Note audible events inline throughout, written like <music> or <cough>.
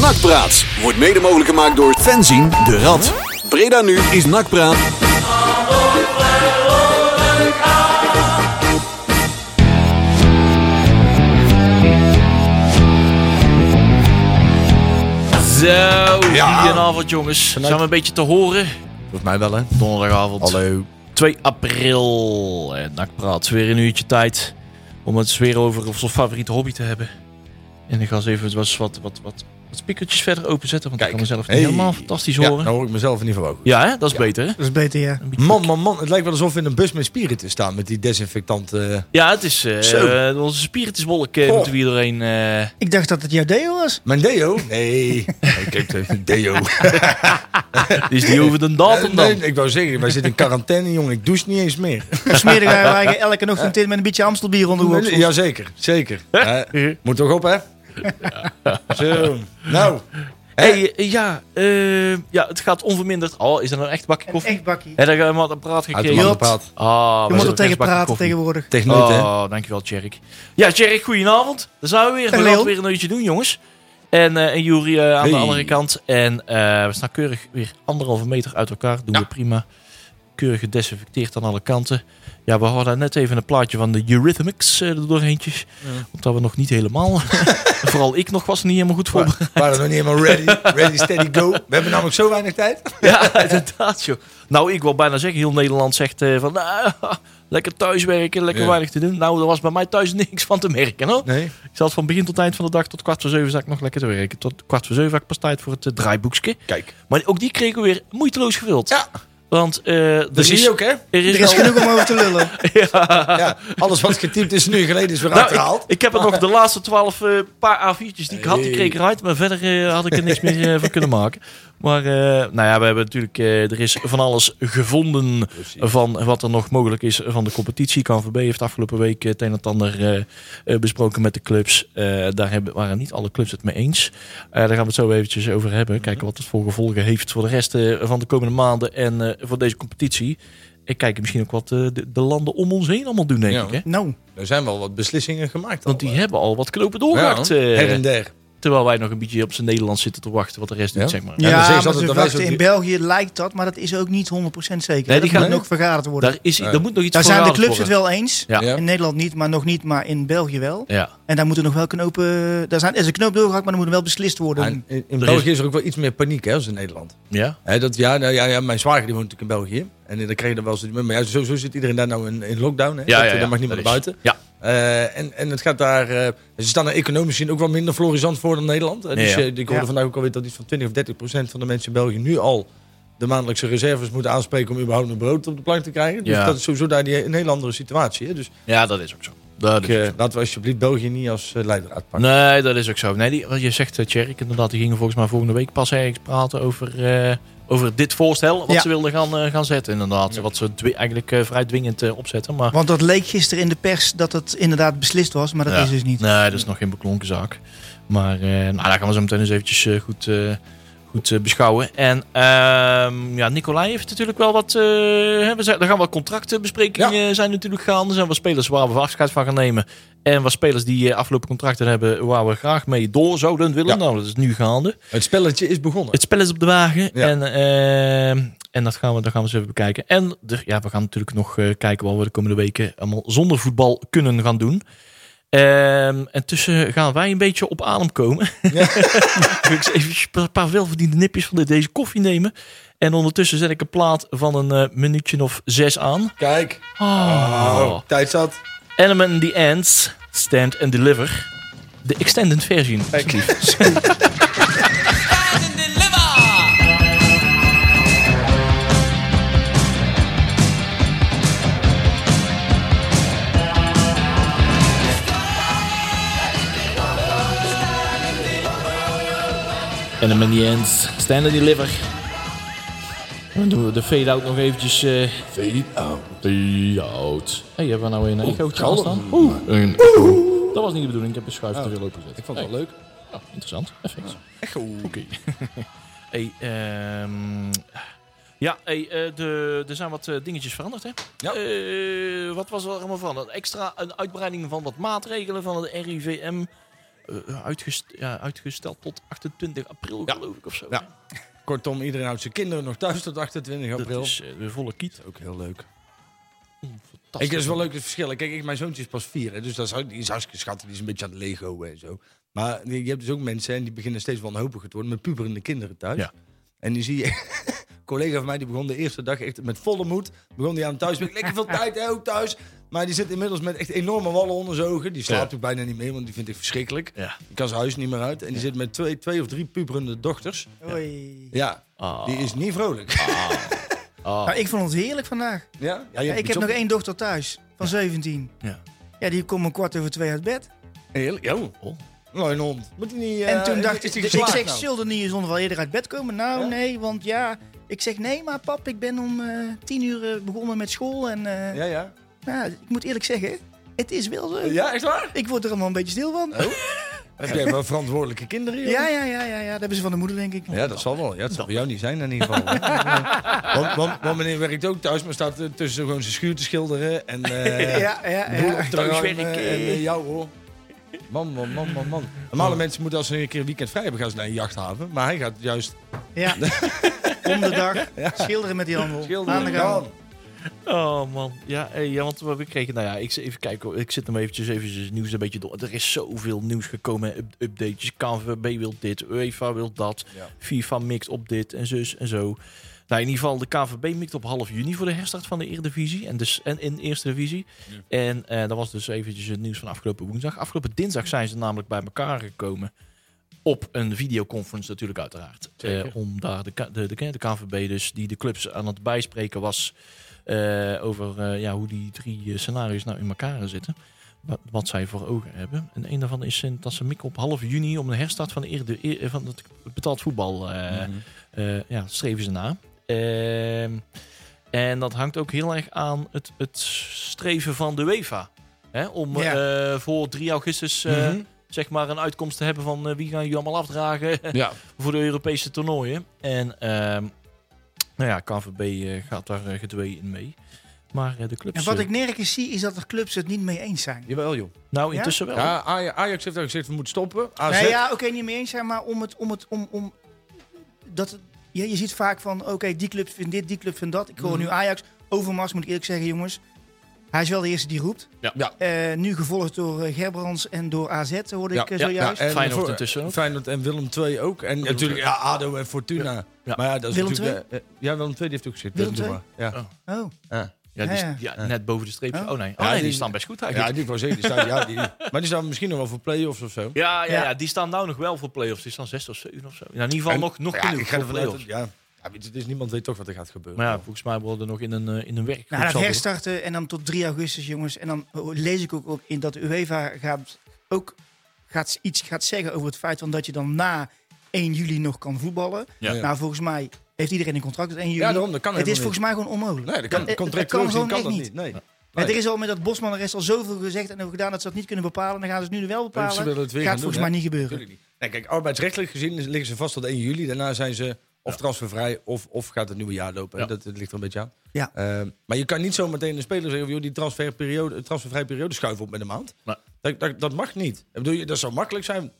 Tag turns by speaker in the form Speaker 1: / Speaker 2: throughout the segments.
Speaker 1: Nakpraat wordt mede mogelijk gemaakt door Fenzien de Rad. Breda nu is Nakpraat.
Speaker 2: Zo,
Speaker 3: Ja.
Speaker 2: goedenavond jongens. Zijn we een beetje te horen?
Speaker 3: Volgens mij wel, hè?
Speaker 2: Donderdagavond.
Speaker 3: Hallo.
Speaker 2: 2 april. En Nakpraat, weer een uurtje tijd om het weer over onze favoriete hobby te hebben. En ik ga eens even wat, wat, wat, wat, wat spiekertjes verder openzetten, want
Speaker 3: Kijk.
Speaker 2: ik kan mezelf
Speaker 3: Hey.
Speaker 2: niet helemaal fantastisch
Speaker 3: Ja,
Speaker 2: horen. Ja,
Speaker 3: nou hoor ik mezelf in ieder geval ook.
Speaker 2: hè? dat is
Speaker 3: Ja.
Speaker 2: beter hè?
Speaker 4: Dat is beter, ja.
Speaker 2: Een beetje-
Speaker 3: Man, man, man. Het lijkt wel alsof we in een bus met spieren te staan. Met die desinfectant. eh.
Speaker 2: Ja, het is eh,
Speaker 3: Zo.
Speaker 2: eh, onze spirituswolk eh,
Speaker 3: Oh.
Speaker 2: moeten we iedereen... eh,
Speaker 4: Ik dacht dat het jouw deo was.
Speaker 3: Mijn deo? Nee.
Speaker 2: <laughs>
Speaker 3: ik heb de deo.
Speaker 2: is die over de datum dan?
Speaker 3: <laughs> Nee, ik wou zeggen, wij zitten in quarantaine, jongen. Ik douche niet eens meer.
Speaker 4: Smeren wij eigenlijk elke ochtend in met een beetje Amstelbier onder de oksels.
Speaker 3: Jazeker, zeker. Eh, moet toch op,
Speaker 2: <laughs>
Speaker 3: hè? Zo. Nou.
Speaker 2: Hey, eh, ja, eh, ja, het gaat onverminderd. Oh, is dat een echt bakje
Speaker 4: Een
Speaker 2: koffie?
Speaker 4: echt bakkie.
Speaker 2: Heb je iemand een praat
Speaker 3: Uit de
Speaker 2: gekregen?
Speaker 4: Jot.
Speaker 3: man praat.
Speaker 2: Ah,
Speaker 4: Je moet er tegen praten
Speaker 2: tegenwoordig.
Speaker 4: tegenwoordig.
Speaker 3: Techneut, hè?
Speaker 2: Oh, dankjewel, Tjerk. Ja, Tjerk, goedenavond. Daar zijn we weer. We
Speaker 4: Hallo.
Speaker 2: gaan weer een uurtje doen, jongens. En, eh, en Juri eh, aan de
Speaker 3: Hey.
Speaker 2: andere kant. En eh, we staan keurig weer anderhalve meter uit elkaar. Doen we prima. Keurig gedesinfecteerd aan alle kanten. Ja, we hadden net even een plaatje van de Eurythmics eh, er doorheentjes. Omdat we nog niet helemaal... <laughs> vooral ik nog was niet helemaal goed voor.
Speaker 3: We waren nog niet helemaal ready. Ready, steady, go. We hebben namelijk zo weinig tijd.
Speaker 2: <laughs> Ja, inderdaad, joh. Nou, ik wil bijna zeggen, heel Nederland zegt eh, van... nou, <laughs> lekker thuiswerken, lekker
Speaker 3: Ja.
Speaker 2: weinig te doen. Nou, er was bij mij thuis <laughs> niks van te merken, hoor.
Speaker 3: Nee.
Speaker 2: Ik zat van begin tot eind van de dag tot kwart voor zeven zat ik nog lekker te werken. Tot kwart voor zeven had ik pas tijd voor het eh, draaiboekje.
Speaker 3: Kijk.
Speaker 2: Maar ook die kregen we weer moeiteloos gevuld.
Speaker 3: Ja.
Speaker 2: Want eh er,
Speaker 3: Dat zie
Speaker 2: is,
Speaker 3: je ook, hè?
Speaker 2: er is
Speaker 4: Er is
Speaker 2: wel-
Speaker 4: genoeg om over te
Speaker 2: <laughs>
Speaker 4: lullen.
Speaker 3: Ja, alles wat getypt is nu geleden is weer
Speaker 2: Nou,
Speaker 3: uitgehaald.
Speaker 2: ik, ik heb er nog de laatste twaalf eh, paar A4'tjes die ik had, die
Speaker 3: Hey.
Speaker 2: kreeg ik eruit. Maar verder eh, had ik er niks meer eh, van kunnen maken. Maar eh, nou ja, we hebben natuurlijk, eh, er is van alles gevonden van wat er nog mogelijk is van de competitie. KNVB heeft afgelopen week eh, het een en het ander eh, eh, besproken met de clubs. Eh, daar hebben, waren niet alle clubs het mee eens. Eh, daar gaan we het zo eventjes over
Speaker 3: Mhm.
Speaker 2: hebben. Kijken wat het voor gevolgen heeft voor de rest eh, van de komende maanden en eh, voor deze competitie. Ik kijk misschien ook wat eh, de, de landen om ons heen allemaal doen, denk
Speaker 3: Ja.
Speaker 2: ik. Hè?
Speaker 4: Nou,
Speaker 3: Er zijn wel wat beslissingen gemaakt.
Speaker 2: Want
Speaker 3: al,
Speaker 2: die
Speaker 3: hè?
Speaker 2: hebben al wat knopen doorgehakt.
Speaker 3: Ja,
Speaker 2: eh,
Speaker 3: her en der.
Speaker 2: terwijl wij nog een beetje op zijn Nederlands zitten te wachten wat de rest
Speaker 3: Ja?
Speaker 2: doet, zeg maar.
Speaker 3: dan
Speaker 4: ja,
Speaker 3: zeggen ze
Speaker 4: maar
Speaker 3: altijd
Speaker 4: ze
Speaker 3: dat wij
Speaker 4: wachten
Speaker 3: zo-
Speaker 4: in België lijkt dat, maar dat is ook niet 100%
Speaker 2: Nee,
Speaker 4: zeker. Nee,
Speaker 2: die
Speaker 4: die
Speaker 2: gaan-
Speaker 4: gaat nog vergaderd worden.
Speaker 2: Daar,
Speaker 4: Daar,
Speaker 2: is, daar moet nog iets voor
Speaker 4: zijn de
Speaker 2: gedaan
Speaker 4: clubs het
Speaker 2: worden.
Speaker 4: wel eens.
Speaker 2: Ja.
Speaker 3: Ja.
Speaker 4: In Nederland niet, maar nog niet, maar in België wel.
Speaker 2: Ja.
Speaker 4: En daar moeten nog wel knopen... Daar zijn, er is een knoop doorgehakt, maar er moet wel beslist worden.
Speaker 3: En in in
Speaker 2: Er is-
Speaker 3: België is er ook wel iets meer paniek hè, als in Nederland.
Speaker 2: Ja.
Speaker 3: Hè, dat, ja, nou, ja, ja, mijn zwager die woont natuurlijk in België. En eh, dan kreeg je er wel zoiets mee. Maar ja, sowieso zit iedereen daar nou in, in lockdown. Hè,
Speaker 2: Ja,
Speaker 3: dat,
Speaker 2: ja,
Speaker 3: eh,
Speaker 2: ja,
Speaker 3: daar mag niemand
Speaker 2: dat
Speaker 3: naar
Speaker 2: is-
Speaker 3: buiten.
Speaker 2: ja.
Speaker 3: Eh, en, en het gaat daar... eh, ze staan er economisch gezien ook wel minder florisant voor dan Nederland. Hè,
Speaker 2: Nee,
Speaker 3: dus
Speaker 2: ja.
Speaker 3: eh, ik hoorde
Speaker 4: Ja.
Speaker 3: vandaag ook alweer dat iets van 20 of 30 procent van de mensen in België nu al de maandelijkse reserves moeten aanspreken om überhaupt een brood op de plank te krijgen. Dus
Speaker 2: Ja.
Speaker 3: dat is sowieso daar die, een heel andere situatie. Hè. Dus
Speaker 2: ja, dat is ook zo. Dat
Speaker 3: ik,
Speaker 2: is ook
Speaker 3: eh,
Speaker 2: zo.
Speaker 3: laten we alsjeblieft België niet als eh, leidraad pakken.
Speaker 2: Nee, dat is ook zo. Nee, die, wat je zegt, eh, Tjerk, inderdaad, die gingen volgens mij volgende week pas ergens praten over, eh, over dit voorstel. Wat
Speaker 4: Ja.
Speaker 2: ze wilden gaan, eh, gaan zetten, inderdaad. Wat ze dwi- eigenlijk eh, vrij dwingend eh, opzetten. Maar
Speaker 4: Want dat leek gisteren in de pers dat het inderdaad beslist was, maar dat
Speaker 2: Ja.
Speaker 4: is dus niet.
Speaker 2: Nee, dat is nog geen beklonken zaak. Maar eh, nou, daar gaan we zo meteen eens eventjes eh, goed, eh, goed eh, beschouwen. En ehm, ja, Nicolai heeft natuurlijk wel wat... eh, hè, we zijn, er gaan wat contractenbesprekingen eh, zijn natuurlijk gaande. Er zijn wat spelers waar we afscheid van gaan nemen. En wat spelers die eh, afgelopen contracten hebben waar we graag mee door zouden willen.
Speaker 3: Ja.
Speaker 2: Nou, dat is nu gaande.
Speaker 3: Het spelletje is begonnen.
Speaker 2: Het spel is op de wagen.
Speaker 3: Ja.
Speaker 2: En, ehm, en dat gaan we, dat gaan we eens even bekijken. En de, ja, we gaan natuurlijk nog eh, kijken wat we de komende weken allemaal zonder voetbal kunnen gaan doen. Ehm, en tussen gaan wij een beetje op adem komen. <laughs>
Speaker 3: Ja.
Speaker 2: Wil ik eens even een paar welverdiende nipjes van de- deze koffie nemen. En ondertussen zet ik een plaat van een eh, minuutje of zes aan.
Speaker 3: Kijk,
Speaker 2: Oh.
Speaker 3: tijd zat.
Speaker 2: Element in the Ends, Stand and Deliver. De extended version. alsjeblieft. En hem in die end. Stand in die liver. En dan doen we de fade-out nog eventjes. eh
Speaker 5: Fade-out. Fade-out.
Speaker 2: hey, hebben we nou een echootje aan
Speaker 5: kalm.
Speaker 2: staan? Dat was niet de bedoeling. Ik heb een schuif te veel opgezet.
Speaker 3: Oh. Ik vond Ah, het wel leuk.
Speaker 2: Ja, interessant. Effect. Oké. <laughs> hey, ehm, ja, hey, eh, de, er zijn wat eh, dingetjes veranderd, hè?
Speaker 3: Ja.
Speaker 2: Eh, wat was er allemaal van? Een extra een uitbreiding van wat maatregelen van het RIVM. eh, uitgest- ja, uitgesteld tot 28 april,
Speaker 3: Ja.
Speaker 2: geloof ik, of zo.
Speaker 3: Ja. Kortom, iedereen houdt zijn kinderen nog thuis tot 28
Speaker 2: Dat
Speaker 3: april.
Speaker 2: is eh, de volle kiet.
Speaker 3: ook heel leuk.
Speaker 2: Fantastisch.
Speaker 3: Ik, dat is wel leuk het verschil. Kijk, ik, mijn zoontje is pas vier, hè, dus dat is, die is hartstikke schattig. Die is een beetje aan het Lego en zo. Maar die- je hebt dus ook mensen, en die beginnen steeds wanhopiger te worden, met puberende kinderen thuis.
Speaker 2: Ja.
Speaker 3: En die zie je, <laughs> een collega van mij, die begon de eerste dag echt met volle moed. Begon die aan het thuis, met lekker veel tijd, hè, ook thuis. Maar die zit inmiddels met echt enorme wallen onder zijn ogen. Die slaapt ook bijna niet meer, want die vind ik verschrikkelijk.
Speaker 2: Ja.
Speaker 3: Die kan zijn huis niet meer uit. En die zit met twee, twee of drie puberende dochters.
Speaker 4: Oei.
Speaker 3: Ja,
Speaker 2: Ah.
Speaker 3: die is niet vrolijk.
Speaker 2: Ah.
Speaker 4: Nou, ik vond het heerlijk vandaag.
Speaker 3: Ja? Ja,
Speaker 4: Ja,
Speaker 3: je
Speaker 4: ik
Speaker 3: hebt
Speaker 4: heb
Speaker 3: iets
Speaker 4: nog
Speaker 3: op-
Speaker 4: één dochter thuis van 17.
Speaker 2: Ja.
Speaker 4: Ja, die komt om kwart over twee uit bed.
Speaker 3: Heel- Yo.
Speaker 2: Oh.
Speaker 3: Nou, een hond. Moet hij niet...
Speaker 4: en
Speaker 3: eh,
Speaker 4: toen
Speaker 3: is-
Speaker 4: dacht
Speaker 3: is
Speaker 4: ik,
Speaker 3: die
Speaker 4: dus ik
Speaker 3: geslaagd
Speaker 4: zeg,
Speaker 3: nou?
Speaker 4: zul er niet eens onder wel eerder uit bed komen? Nou,
Speaker 3: Ja?
Speaker 4: nee, want ja. Ik zeg, nee, maar pap, ik ben om eh, tien uur eh, begonnen met school. En eh,
Speaker 3: Ja, ja.
Speaker 4: nou, ik moet eerlijk zeggen, het is wel zo.
Speaker 3: Ja, echt waar?
Speaker 4: Ik word er allemaal een beetje stil van.
Speaker 3: Heb jij wel verantwoordelijke kinderen? joh?
Speaker 4: Ja, ja, ja, ja, ja, dat hebben ze van de moeder, denk ik.
Speaker 3: Ja, dat zal wel. Ja, het zal voor jou niet zijn in ieder geval.
Speaker 4: <laughs>
Speaker 3: want, want, want meneer werkt ook thuis, maar staat eh, tussen gewoon zijn schuur te schilderen. En eh ja,
Speaker 4: <laughs> Ja, ja,
Speaker 3: boel
Speaker 4: ja.
Speaker 3: op het terrein,
Speaker 2: Thuiswerk,
Speaker 3: eh,
Speaker 2: eh.
Speaker 3: en eh, jou hoor. Man, man, man, man, man. Normale mensen moeten als ze een keer een weekend vrij hebben, gaan ze naar een jachthaven. Maar hij gaat juist
Speaker 4: ja. Om de dag schilderen met die handel. Aan de gang.
Speaker 3: Ja.
Speaker 2: Oh man, ja, hey, ja, want we we kregen, nou ja, ik zit even kijken, hoor. ik zit hem eventjes even het nieuws een beetje door. Er is zoveel nieuws gekomen, hè, up- updates. KNVB wil dit, UEFA wil dat,
Speaker 3: Ja.
Speaker 2: FIFA mikt op dit en zus en zo. Nou, in ieder geval, de KNVB mikt op half juni voor de herstart van de Eredivisie en, dus, en in Eerste Divisie. En eh, dat was dus eventjes het nieuws van afgelopen woensdag. Afgelopen dinsdag zijn ze namelijk bij elkaar gekomen. Op een videoconference natuurlijk uiteraard.
Speaker 3: Zeker.
Speaker 2: Eh, om daar de, K- de, de, de KNVB dus, die de clubs aan het bijspreken was... eh, over eh, ja, hoe die drie eh, scenario's nou in elkaar zitten. Wat, wat zij voor ogen hebben. En een daarvan is eh, dat ze mikken op half juni... om de herstart van, de eerde, eh, van het betaald voetbal eh
Speaker 3: Mhm.
Speaker 2: eh, ja, dat streven ze na. Ehm, en dat hangt ook heel erg aan het, het streven van de UEFA. Hè, om eh, voor 3 augustus eh,
Speaker 3: Mhm.
Speaker 2: zeg maar een uitkomst te hebben van eh, wie gaan jullie allemaal afdragen
Speaker 3: Ja.
Speaker 2: <laughs> voor de Europese toernooien. En ehm, nou ja, KVB gaat daar eh, gedwee in mee. Maar eh, de clubs...
Speaker 4: En wat
Speaker 2: eh,
Speaker 4: ik nergens zie, is dat de clubs het niet mee eens zijn.
Speaker 3: Jawel, joh.
Speaker 2: nou,
Speaker 4: Ja?
Speaker 2: intussen wel.
Speaker 3: Ja, Aj- Ajax heeft al gezegd, we moeten stoppen. AZ,
Speaker 4: Nee, ja, oké, niet mee eens zijn, maar om het, om het, om, om dat, het- ja, je ziet vaak van, oké, die club vindt dit, die club vindt dat. Ik hoor
Speaker 2: Mhm.
Speaker 4: nu Ajax, Overmars moet ik eerlijk zeggen, jongens. Hij is wel de eerste die roept.
Speaker 2: Ja.
Speaker 3: Ja.
Speaker 4: Eh, nu gevolgd door eh, Gerbrands en door AZ, hoorde
Speaker 3: Ja,
Speaker 4: ik eh,
Speaker 2: ja,
Speaker 4: zojuist.
Speaker 3: en
Speaker 2: Feyenoord
Speaker 3: voor-
Speaker 2: intussen ook.
Speaker 3: Feyenoord en Willem II ook. En natuurlijk ja, ADO en Fortuna.
Speaker 2: Ja.
Speaker 3: Maar ja, dat is
Speaker 4: Willem
Speaker 3: natuurlijk... eh, eh, ja, Willem II die heeft ook gezegd.
Speaker 4: Willem
Speaker 3: Doe
Speaker 4: II?
Speaker 3: maar. Ja.
Speaker 2: Oh.
Speaker 4: Oh,
Speaker 3: Ja.
Speaker 2: Ja, die is-
Speaker 4: Ja,
Speaker 2: ja, net boven de streep.
Speaker 4: Oh.
Speaker 2: Oh nee, oh,
Speaker 3: Ja,
Speaker 2: nee die,
Speaker 3: die-
Speaker 2: staan best goed
Speaker 3: Ja,
Speaker 2: eigenlijk.
Speaker 3: die was zeker. Die staan, ja, die,
Speaker 2: <laughs>
Speaker 3: maar die staan misschien nog wel voor play-offs of zo.
Speaker 2: Ja, ja, ja,
Speaker 4: Ja.
Speaker 2: die staan nou nog wel voor play-offs. Die staan zes of zeven of zo. Nou, in ieder geval nog, nog
Speaker 3: ja,
Speaker 2: genoeg
Speaker 3: ik ga
Speaker 2: voor
Speaker 3: ervan uit. dat-
Speaker 2: play-offs.
Speaker 3: Ja, ja, weet je, dus niemand weet toch wat er gaat gebeuren.
Speaker 2: Maar ja, volgens mij worden er nog in een, eh, in een werk.
Speaker 4: Eh, nou, dat herstarten en dan tot 3 augustus, jongens. En dan oh, lees ik ook op in dat de UEFA gaat ook gaat iets gaat zeggen over het feit van dat je dan na 1 juli nog kan voetballen.
Speaker 2: Ja.
Speaker 3: Ja.
Speaker 4: Nou, volgens mij heeft iedereen een contract tot 1 juli.
Speaker 3: ja, daarom. Dat kan
Speaker 4: het is
Speaker 3: helemaal
Speaker 4: volgens mij gewoon onmogelijk.
Speaker 3: niet. Nee, dat kan,
Speaker 4: Eh, eh,
Speaker 3: contractueel
Speaker 4: dat kan
Speaker 3: gezien kan
Speaker 4: gewoon
Speaker 3: dat
Speaker 4: echt
Speaker 3: niet. Nee.
Speaker 4: En er is al met dat Bosman-arrest al zoveel gezegd en over gedaan dat ze dat niet kunnen bepalen. Dan gaan ze het nu wel bepalen.
Speaker 3: ze willen het weer
Speaker 4: Gaat
Speaker 3: gaan
Speaker 4: volgens
Speaker 3: doen,
Speaker 4: mij
Speaker 3: hè?
Speaker 4: niet gebeuren.
Speaker 3: Natuurlijk niet. Nee, kijk, arbeidsrechtelijk gezien liggen ze vast tot 1 juli. Daarna zijn ze of transfervrij of, of gaat het nieuwe jaar lopen. hè.
Speaker 2: Ja.
Speaker 3: Dat, dat ligt er een beetje aan.
Speaker 4: Ja.
Speaker 3: Ehm, maar je kan niet zo meteen de speler zeggen... Joh, die transferperiode, transfervrije periode schuiven op met een maand.
Speaker 2: Nee.
Speaker 3: Dat, dat, dat mag niet. Ik bedoel, dat zou makkelijk zijn.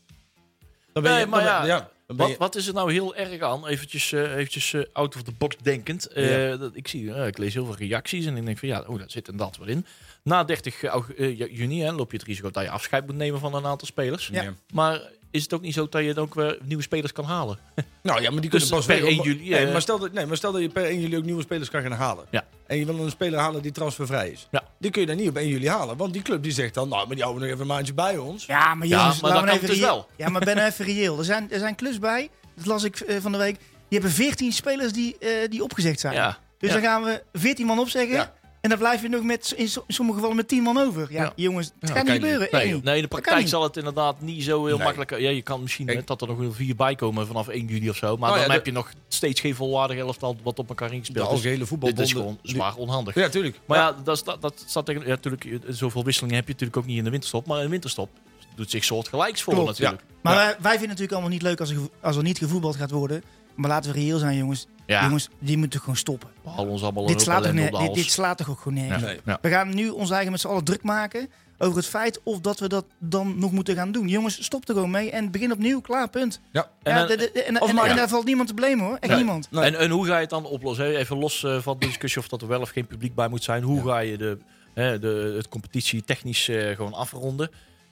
Speaker 3: Dan
Speaker 2: Nee,
Speaker 3: je-
Speaker 2: maar
Speaker 3: dan
Speaker 2: ja,
Speaker 3: ben- dan ben
Speaker 2: Wat,
Speaker 3: je-
Speaker 2: wat is er nou heel erg aan? Eventjes, eh, eventjes eh, out of the box denkend. Eh, dat, ik, zie, eh, ik lees heel veel reacties en ik denk van ja, oh, daar zit en dat wel in. Na 30 aug- eh, ja, juni hè, loop je het risico dat je afscheid moet nemen van een aantal spelers.
Speaker 4: Ja.
Speaker 2: Maar is het ook niet zo dat je dan ook weer nieuwe spelers kan halen?
Speaker 3: Nou ja, maar die
Speaker 2: Dus
Speaker 3: kunnen pas
Speaker 2: per
Speaker 3: weg.
Speaker 2: 1 juli,
Speaker 3: nee,
Speaker 2: eh,
Speaker 3: maar stel dat, nee, maar stel dat je per 1 juli ook nieuwe spelers kan gaan halen.
Speaker 2: Ja.
Speaker 3: En je wil een speler halen die transfervrij is.
Speaker 2: Ja.
Speaker 3: Die kun je dan niet op 1 juli halen. Want die club die zegt dan, nou, maar die houden we nog even een maandje bij ons.
Speaker 4: Ja, maar
Speaker 2: Ja, maar
Speaker 4: jongens, laten
Speaker 2: dat
Speaker 4: we nou
Speaker 2: kan
Speaker 4: even
Speaker 2: dus
Speaker 4: reëel-
Speaker 2: wel.
Speaker 4: Ja, maar ben nou even reëel. Er zijn, er zijn clubs bij, dat las ik eh, van de week. Die hebben 14 spelers die, eh, die opgezegd zijn.
Speaker 2: Ja.
Speaker 4: Dus
Speaker 2: Ja.
Speaker 4: dan gaan we 14 man opzeggen.
Speaker 3: Ja.
Speaker 4: En dan blijf je nog met, in so- sommige gevallen met 10 man over. Ja,
Speaker 2: Ja.
Speaker 4: jongens, het
Speaker 3: Ja,
Speaker 4: gaat
Speaker 3: kan
Speaker 4: niet
Speaker 3: je
Speaker 4: gebeuren. Echt
Speaker 2: Nee,
Speaker 4: niet.
Speaker 2: nee, in de
Speaker 4: kan
Speaker 2: praktijk
Speaker 4: niet.
Speaker 2: zal het inderdaad niet zo heel
Speaker 3: Nee.
Speaker 2: makkelijk... Ja, je kan misschien
Speaker 3: Ik-
Speaker 2: hè, dat er nog wel vier bij komen vanaf 1 juli of zo. Maar
Speaker 4: Oh
Speaker 3: Nou ja,
Speaker 2: dan
Speaker 3: de-
Speaker 2: heb je nog steeds geen volwaardig elftal wat op elkaar
Speaker 3: De
Speaker 2: ingespeeld is.
Speaker 3: algehele
Speaker 2: dus Dit is
Speaker 3: voetbalbonden.
Speaker 2: gewoon zwaar onhandig.
Speaker 3: Ja, tuurlijk.
Speaker 2: Maar ja, dat, staat- dat staat tegen. Ja, natuurlijk, eh, zoveel wisselingen heb je natuurlijk ook niet in de winterstop. Maar in de winterstop doet zich soort gelijks voor
Speaker 4: Klopt,
Speaker 2: natuurlijk.
Speaker 4: Maar wij, wij vinden het natuurlijk allemaal niet leuk als er, gevo- als er niet gevoetbald gaat worden. Maar laten we reëel zijn, jongens.
Speaker 2: Ja.
Speaker 4: Jongens, die moeten gewoon stoppen.
Speaker 2: We houden ons allemaal
Speaker 4: Dit
Speaker 2: een
Speaker 4: slaat, toch
Speaker 2: ellende
Speaker 4: ne-
Speaker 2: op de
Speaker 4: dit, dit
Speaker 2: hals.
Speaker 4: slaat toch ook gewoon nergens.
Speaker 2: Ja,
Speaker 3: Nee.
Speaker 2: ja.
Speaker 4: We gaan nu ons eigen met z'n allen druk maken over het feit of dat we dat dan nog moeten gaan doen. Jongens, stop er gewoon mee en begin opnieuw. Klaar, punt.
Speaker 3: Ja.
Speaker 4: Ja,
Speaker 2: En dan-
Speaker 4: de- de- de- en,
Speaker 2: of
Speaker 4: en-
Speaker 2: maar-
Speaker 4: en
Speaker 2: ja.
Speaker 4: daar valt niemand te blamen hoor. Echt
Speaker 2: Nee.
Speaker 4: niemand.
Speaker 3: Nee.
Speaker 2: En, en hoe ga je het dan oplossen? hè? Even los eh, van de discussie of dat er wel of geen publiek bij moet zijn. Hoe ga je de, hè, de, het competitie technisch eh, gewoon afronden?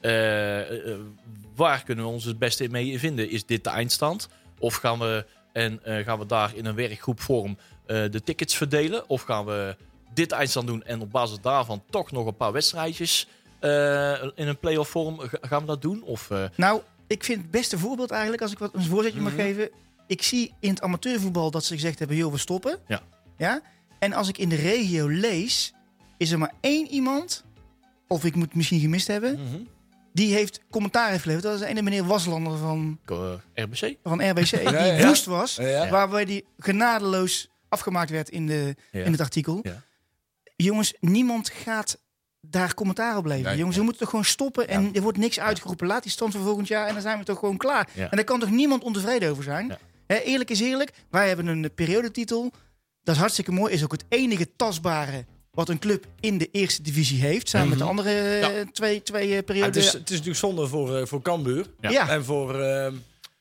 Speaker 2: Eh, eh, waar kunnen we ons het beste in mee vinden? Is dit de eindstand? Of gaan we, en, eh, gaan we daar in een werkgroepvorm eh, de tickets verdelen? Of gaan we dit eindstand doen en op basis daarvan toch nog een paar wedstrijdjes eh, in een playoff vorm ga- gaan we dat doen? Of, eh,
Speaker 4: Nou, ik vind het beste voorbeeld eigenlijk, als ik wat een voorzetje
Speaker 2: Mhm.
Speaker 4: mag geven. Ik zie in het amateurvoetbal dat ze gezegd hebben, joh, we stoppen.
Speaker 2: Ja.
Speaker 4: ja? En als ik in de regio lees, is er maar één iemand, of ik moet het misschien gemist hebben,
Speaker 2: Mhm.
Speaker 4: die heeft commentaar heeft geleverd. Dat is de ene meneer Waslander van,
Speaker 2: eh, RBC?
Speaker 4: van RBC, die
Speaker 3: ja.
Speaker 4: woest was.
Speaker 3: Ja, ja.
Speaker 4: Waarbij die genadeloos afgemaakt werd in, de,
Speaker 2: Ja.
Speaker 4: in het artikel.
Speaker 2: Ja.
Speaker 4: Jongens, niemand gaat daar commentaar op leveren.
Speaker 3: Nee,
Speaker 4: Jongens, we moeten toch gewoon stoppen en er wordt niks uitgeroepen. Laat die stand voor volgend jaar en dan zijn we toch gewoon klaar.
Speaker 2: Ja.
Speaker 4: En daar kan toch niemand ontevreden over zijn?
Speaker 2: Ja.
Speaker 4: Hè, eerlijk is eerlijk, wij hebben een eh, periodetitel. Dat is hartstikke mooi. Is ook het enige tastbare wat een club in de eerste divisie heeft. Samen
Speaker 3: Mhm.
Speaker 4: met de andere eh, twee, twee eh,
Speaker 3: Ja, het,
Speaker 4: perioden.
Speaker 3: is, het is natuurlijk zonde voor, eh voor Cambuur
Speaker 2: Ja.
Speaker 4: Ja.
Speaker 3: en voor ehm,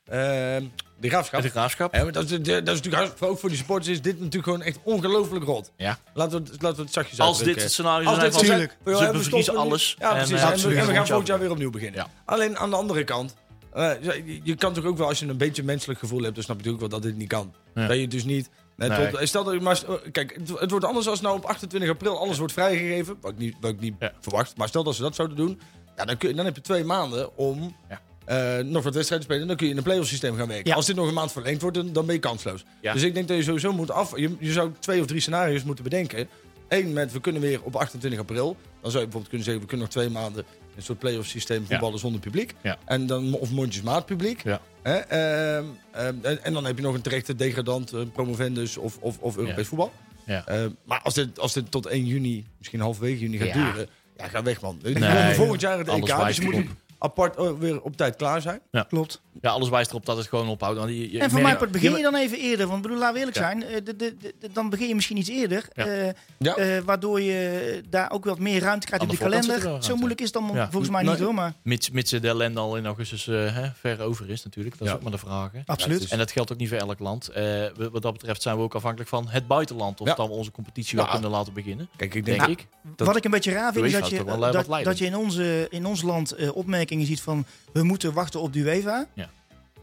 Speaker 3: ehm, de Graafschap.
Speaker 2: De graafschap?
Speaker 3: Ja, maar dat, is, dat is natuurlijk hartstikke- ook voor die supporters is dit natuurlijk gewoon echt ongelooflijk rot.
Speaker 2: Ja.
Speaker 3: Laten we, het- laten we het zachtjes
Speaker 2: Als
Speaker 3: uitdrukken.
Speaker 2: dit het scenario
Speaker 3: Als
Speaker 2: zou
Speaker 3: dit
Speaker 2: zijn
Speaker 4: van-
Speaker 3: het
Speaker 4: Tuurlijk.
Speaker 2: Ze
Speaker 3: scenario- we
Speaker 2: bevriezen
Speaker 3: stoppen nu.
Speaker 2: alles
Speaker 3: Ja,
Speaker 2: en,
Speaker 3: precies.
Speaker 2: eh,
Speaker 3: En, we,
Speaker 2: absoluut.
Speaker 3: en we gaan
Speaker 2: Ja.
Speaker 3: volgend jaar weer opnieuw beginnen.
Speaker 2: Ja.
Speaker 3: Alleen aan de andere kant. eh, je- je kan toch ook wel, als je een beetje menselijk gevoel hebt, dan snap je natuurlijk wel dat dit niet kan.
Speaker 2: Ja.
Speaker 3: Dat je dus niet... Het
Speaker 2: Nee.
Speaker 3: wordt, stel dat je maar, eh, kijk, het, het wordt anders als nou op 28 april alles wordt vrijgegeven. Wat ik niet, wat ik niet
Speaker 2: Ja.
Speaker 3: verwacht. Maar stel dat ze dat zouden doen. Ja, dan, kun, je- dan heb je twee maanden om
Speaker 2: Ja.
Speaker 3: eh, nog wat wedstrijden te spelen. Dan kun je in een play-off systeem gaan werken.
Speaker 4: Ja.
Speaker 3: Als dit nog een maand verlengd wordt, dan, dan ben je kansloos.
Speaker 2: Ja.
Speaker 3: Dus ik denk dat je sowieso moet af... Je, je zou twee of drie scenario's moeten bedenken. Eén met, we kunnen weer op 28 april. Dan zou je bijvoorbeeld kunnen zeggen, we kunnen nog twee maanden... een soort play-off systeem voetballen zonder publiek.
Speaker 2: Ja.
Speaker 3: En dan, of mondjesmaat publiek.
Speaker 2: Ja.
Speaker 3: Hè, ehm, ehm, en, en dan heb je nog een terechte degradant, eh, promovendus of, of, of Europees
Speaker 2: Ja.
Speaker 3: voetbal.
Speaker 2: Ja.
Speaker 3: Eh, maar als dit, als dit tot 1 juni, misschien halverwege juni gaat
Speaker 2: Ja.
Speaker 3: duren... Ja, ga weg man. We komen volgend jaar het EK,
Speaker 2: alles
Speaker 3: dus
Speaker 2: wijst
Speaker 3: je moet
Speaker 2: erop.
Speaker 3: apart eh, weer op tijd klaar zijn.
Speaker 4: Klopt.
Speaker 2: Ja, alles wijst erop dat het gewoon ophoudt. Want je- je
Speaker 4: En voor
Speaker 2: merkt-
Speaker 4: mij part begin
Speaker 2: Ja,
Speaker 4: je dan even eerder. Want ik bedoel, laten we eerlijk
Speaker 2: Ja.
Speaker 4: zijn. eh, de- de- de- de- dan begin je misschien iets eerder.
Speaker 2: Ja.
Speaker 4: eh,
Speaker 3: Ja.
Speaker 4: eh, waardoor je daar ook wat meer ruimte krijgt
Speaker 2: Aan
Speaker 4: op
Speaker 2: de
Speaker 4: de
Speaker 2: voorkant zit er wel
Speaker 4: kalender.
Speaker 2: ruimte.
Speaker 4: Zo moeilijk is het dan
Speaker 2: Ja.
Speaker 4: volgens mij niet
Speaker 3: Nee.
Speaker 4: hoor. Maar
Speaker 2: Mits, mits de ellende al in augustus eh, hè, ver over is natuurlijk. Dat is
Speaker 3: Ja.
Speaker 2: ook maar de vraag. hè.
Speaker 4: absoluut.
Speaker 2: En dat geldt ook niet voor elk land. Eh, we- wat dat betreft zijn we ook afhankelijk van het buitenland. Of
Speaker 3: Ja.
Speaker 2: dan we onze competitie
Speaker 3: Ja.
Speaker 2: wel kunnen laten beginnen.
Speaker 3: Kijk, ik denk...
Speaker 2: Denk
Speaker 3: Ja.
Speaker 2: ik.
Speaker 3: Dat-
Speaker 4: Wat ik een beetje raar vind, is
Speaker 2: UEFA is
Speaker 4: dat je,
Speaker 2: toch wel, eh, wat
Speaker 4: dat,
Speaker 2: leidend.
Speaker 4: dat je in, onze, in ons land eh, opmerkingen ziet van... we moeten wachten op de UEFA.
Speaker 2: Ja.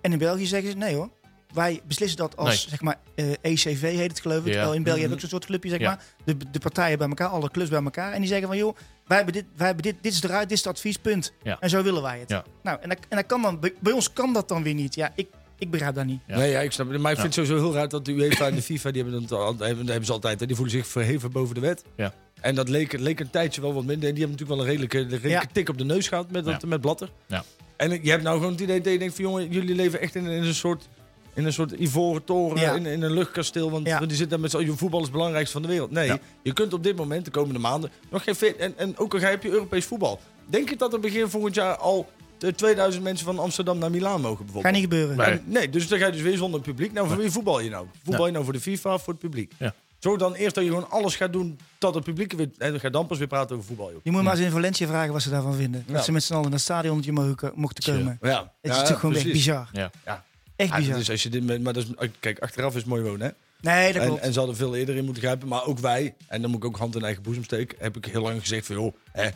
Speaker 4: En in België zeggen ze, nee hoor. Wij beslissen dat als,
Speaker 2: Nee.
Speaker 4: zeg maar, eh, ECV heet het geloof ik.
Speaker 2: Ja. Mm-hmm.
Speaker 4: Terwijl in België
Speaker 3: Mhm.
Speaker 4: heb je ook zo'n soort clubje, zeg
Speaker 2: Ja.
Speaker 4: maar. De, de partijen bij elkaar, alle clubs bij elkaar. En die zeggen van, joh, wij hebben dit, wij hebben dit, dit is eruit, dit is het advies, punt.
Speaker 2: Ja.
Speaker 4: En zo willen wij het.
Speaker 2: Ja.
Speaker 4: Nou, en, dat, en dat kan dan, bij, bij ons kan dat dan weer niet. Ja, ik, ik begrijp dat niet.
Speaker 2: Ja.
Speaker 3: Nee, ja, ik snap het. Maar ik vind het sowieso heel raar dat de UEFA en de FIFA, die hebben, dat al, hebben, dat hebben ze altijd, hè. die voelen zich verheven boven de wet.
Speaker 2: Ja.
Speaker 3: En dat leek, leek een tijdje wel wat minder. En die hebben natuurlijk wel een redelijke, een redelijke
Speaker 4: Ja.
Speaker 3: tik op de neus gehad met, dat,
Speaker 2: Ja.
Speaker 3: met Blatter.
Speaker 2: Ja.
Speaker 3: En je hebt nou gewoon het idee dat je denkt van, jongen, jullie leven echt in, in een soort... In een soort ivoren toren,
Speaker 4: Ja.
Speaker 3: in, in een luchtkasteel. Want
Speaker 4: Ja.
Speaker 3: die zitten daar met z'n allen. Voetbal is het belangrijkste van de wereld. Nee,
Speaker 2: Ja.
Speaker 3: je kunt op dit moment, de komende maanden, nog geen fit. En, en ook al heb je Europees voetbal. Denk je dat er begin volgend jaar al eh, 2000 mensen van Amsterdam naar Milaan mogen bijvoorbeeld?
Speaker 4: Gaat niet gebeuren.
Speaker 2: Nee.
Speaker 3: En- nee, dus dan ga je dus weer zonder publiek. Nou, voor wie voetbal je nou? Voetbal je nou voor de FIFA of voor het publiek?
Speaker 2: Ja.
Speaker 3: Zorg dan eerst dat je gewoon alles gaat doen tot het publiek er weer... En dan ga je dan pas weer praten over voetbal, joh.
Speaker 4: Je moet maar eens in Valencia vragen wat ze daarvan vinden.
Speaker 3: Ja.
Speaker 4: Dat ze met z'n allen naar het stadionnetje mogen, mochten
Speaker 2: Tja.
Speaker 4: komen.
Speaker 3: Ja,
Speaker 4: Het is toch gewoon echt bizar.
Speaker 2: Ja.
Speaker 3: Ja.
Speaker 4: Echt
Speaker 3: Ja,
Speaker 4: bizar.
Speaker 3: dus als je dit, met- maar dat is, kijk, achteraf is het mooi wonen, hè?
Speaker 4: Nee, dat
Speaker 3: En,
Speaker 4: klopt.
Speaker 3: en ze hadden veel eerder in moeten grijpen. Maar ook wij, en dan moet ik ook hand in eigen boezem steken, heb ik heel lang gezegd van, joh, hè,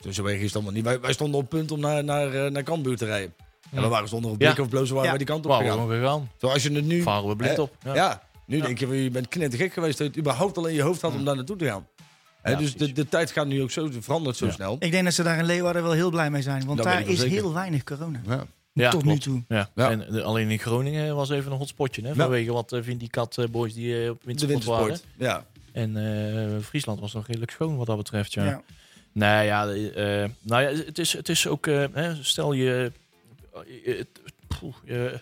Speaker 3: zo- zo erg is het allemaal niet. Wij, wij stonden op punt om naar, naar, eh, naar Cambuur te rijden. En we waren zonder een blik
Speaker 2: Ja.
Speaker 3: of blozen waren
Speaker 4: Ja.
Speaker 3: wij die kant op
Speaker 2: Waar we
Speaker 3: gegaan.
Speaker 2: gewoon gegaan.
Speaker 3: Terwijl als je het nu...
Speaker 2: Varen we blind
Speaker 3: Hè?
Speaker 2: op.
Speaker 3: Ja. Nu denk je, je bent knettergek geweest dat je het überhaupt al in je hoofd had om daar naartoe te gaan. Hè,
Speaker 2: Ja,
Speaker 3: dus de,
Speaker 2: precies.
Speaker 3: de tijd gaat nu ook zo, verandert zo
Speaker 2: Ja.
Speaker 3: snel.
Speaker 4: Ik denk dat ze daar in Leeuwarden wel heel blij mee zijn. Want
Speaker 3: Dat weet
Speaker 4: daar
Speaker 3: ik
Speaker 4: is
Speaker 3: wel zeker.
Speaker 4: heel weinig corona.
Speaker 3: Ja.
Speaker 2: Ja,
Speaker 4: tot nu
Speaker 2: klopt.
Speaker 4: toe.
Speaker 2: Ja.
Speaker 3: Ja.
Speaker 2: En, eh, alleen in Groningen was even een hotspotje. Hè, vanwege wat eh, Vindicat eh, boys die eh, op
Speaker 3: De
Speaker 2: wintersport waren.
Speaker 3: wintersport. Ja.
Speaker 2: En eh, Friesland was nog redelijk schoon wat dat betreft. Ja.
Speaker 4: Ja.
Speaker 2: Nou ja, eh, nou ja het, is, het is ook, eh, hè, stel je, eh, het- poeh, je-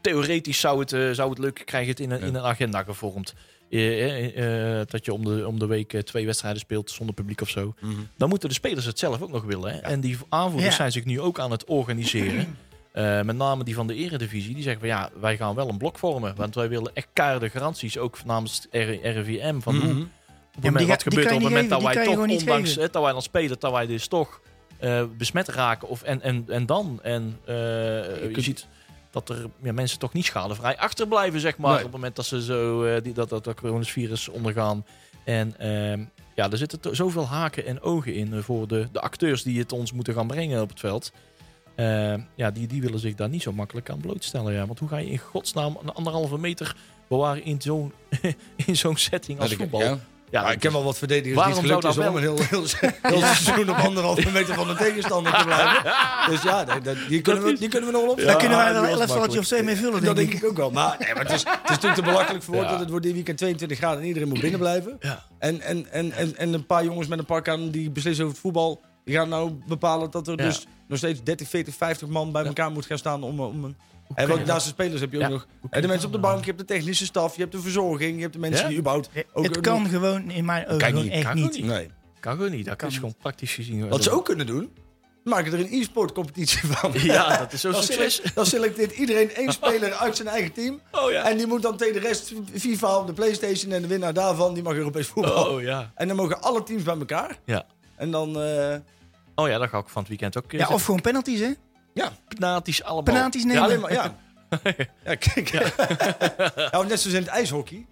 Speaker 2: theoretisch zou het, eh, zou het leuk krijgen het in een, in een agenda gevormd. Eh, eh, eh, dat je om de, om de week eh, twee wedstrijden speelt zonder publiek of zo.
Speaker 3: Mhm.
Speaker 2: Dan moeten de spelers het zelf ook nog willen. Hè? En die aanvoerders
Speaker 4: Ja.
Speaker 2: zijn zich nu ook aan het organiseren. eh, met name die van de eredivisie, die zeggen van ja, wij gaan wel een blok vormen. Want wij willen echt keiharde garanties, ook namens R- RIVM. Van hoe,
Speaker 3: Mhm.
Speaker 2: op het
Speaker 4: Ja, maar
Speaker 2: moment,
Speaker 4: die
Speaker 2: wat
Speaker 4: ga- die
Speaker 2: gebeurt er
Speaker 4: kan
Speaker 2: op het
Speaker 4: je
Speaker 2: moment
Speaker 4: niet
Speaker 2: dat
Speaker 4: geven, die kan
Speaker 2: wij
Speaker 4: je
Speaker 2: toch,
Speaker 4: gewoon niet
Speaker 2: ondanks
Speaker 4: geven.
Speaker 2: hè, dat wij dan spelen, dat wij dus toch eh, besmet raken. Of, en, en, en dan, en eh, je,
Speaker 5: kunt-
Speaker 2: ziet dat er ja, mensen toch niet schadevrij achterblijven, zeg maar.
Speaker 3: Nee.
Speaker 2: Op het moment dat ze zo eh, die, dat, dat, dat coronavirus ondergaan. En ehm, ja, er zitten to- zoveel haken en ogen in eh, voor de, de acteurs die het ons moeten gaan brengen op het veld. Eh, ja, die, die willen zich daar niet zo makkelijk aan blootstellen. Ja. Want hoe ga je in godsnaam een anderhalve meter bewaren in zo'n <laughs> in zo'n setting als
Speaker 3: Ja,
Speaker 2: voetbal?
Speaker 3: ja.
Speaker 2: Ja, dus
Speaker 3: Maar ik ken wel wat verdedigers
Speaker 2: Waarom
Speaker 3: die het gelukt
Speaker 2: zou
Speaker 3: is
Speaker 2: dat
Speaker 3: om een heel,
Speaker 2: <laughs>
Speaker 3: heel, heel seizoen op anderhalve meter van de tegenstander te blijven. Dus ja, nee, dat- die, kunnen we, die kunnen we nog wel opstellen.
Speaker 4: Daar kunnen wij
Speaker 3: Ja,
Speaker 4: wel
Speaker 3: die
Speaker 4: een
Speaker 3: was
Speaker 4: elftaltje of
Speaker 3: makkelijk.
Speaker 4: twee mee vullen,
Speaker 3: Dat
Speaker 4: denk
Speaker 3: denk
Speaker 4: ik.
Speaker 3: ik ook wel. Maar, nee, maar het, is, het is natuurlijk te belachelijk voor woord
Speaker 2: Ja.
Speaker 3: dat het wordt dit weekend 22 graden en iedereen moet binnen blijven.
Speaker 2: Ja.
Speaker 3: En, en, en, en, en een paar jongens met een pak aan die beslissen over het voetbal. Die gaan nou bepalen dat er
Speaker 2: Ja.
Speaker 3: dus nog steeds 30, 40, 50 man bij elkaar moet gaan staan om, om een... En
Speaker 2: kun
Speaker 3: want
Speaker 2: je
Speaker 3: naast de spelers heb je ook
Speaker 2: Ja.
Speaker 3: nog
Speaker 2: kun
Speaker 3: en
Speaker 2: je
Speaker 3: de mensen op de
Speaker 2: dat
Speaker 3: bank, je hebt de technische staf, je hebt de verzorging, je hebt de mensen
Speaker 2: Ja?
Speaker 3: die überhaupt... ook-
Speaker 4: het kan gewoon in mijn ogen
Speaker 3: Kan
Speaker 4: gewoon
Speaker 3: niet,
Speaker 4: echt
Speaker 2: kan
Speaker 4: niet.
Speaker 2: niet.
Speaker 3: Nee.
Speaker 2: Kan gewoon niet. Dat kan is gewoon praktisch gezien.
Speaker 3: Wat ze ook kunnen doen, maken er een e-sport competitie van.
Speaker 2: <laughs> Ja, dat is zo
Speaker 3: <laughs> Dan,
Speaker 2: succes.
Speaker 3: select- dan selecteert iedereen één speler uit zijn eigen team.
Speaker 2: Oh ja.
Speaker 3: En die moet dan tegen de rest FIFA op de Playstation en de winnaar daarvan, die mag Europees voetbal.
Speaker 2: Oh ja.
Speaker 3: En dan mogen alle teams bij elkaar.
Speaker 2: Ja.
Speaker 3: En dan, eh,
Speaker 2: Oh ja, dat ga ik van het weekend ook.
Speaker 4: Ja, of gewoon penalties, hè?
Speaker 2: penalties allemaal.
Speaker 4: Penalties
Speaker 3: ja,
Speaker 4: nemen.
Speaker 3: alleen maar, ja. <laughs> ja, kijk. <laughs> Ja. of net zoals in het ijshockey.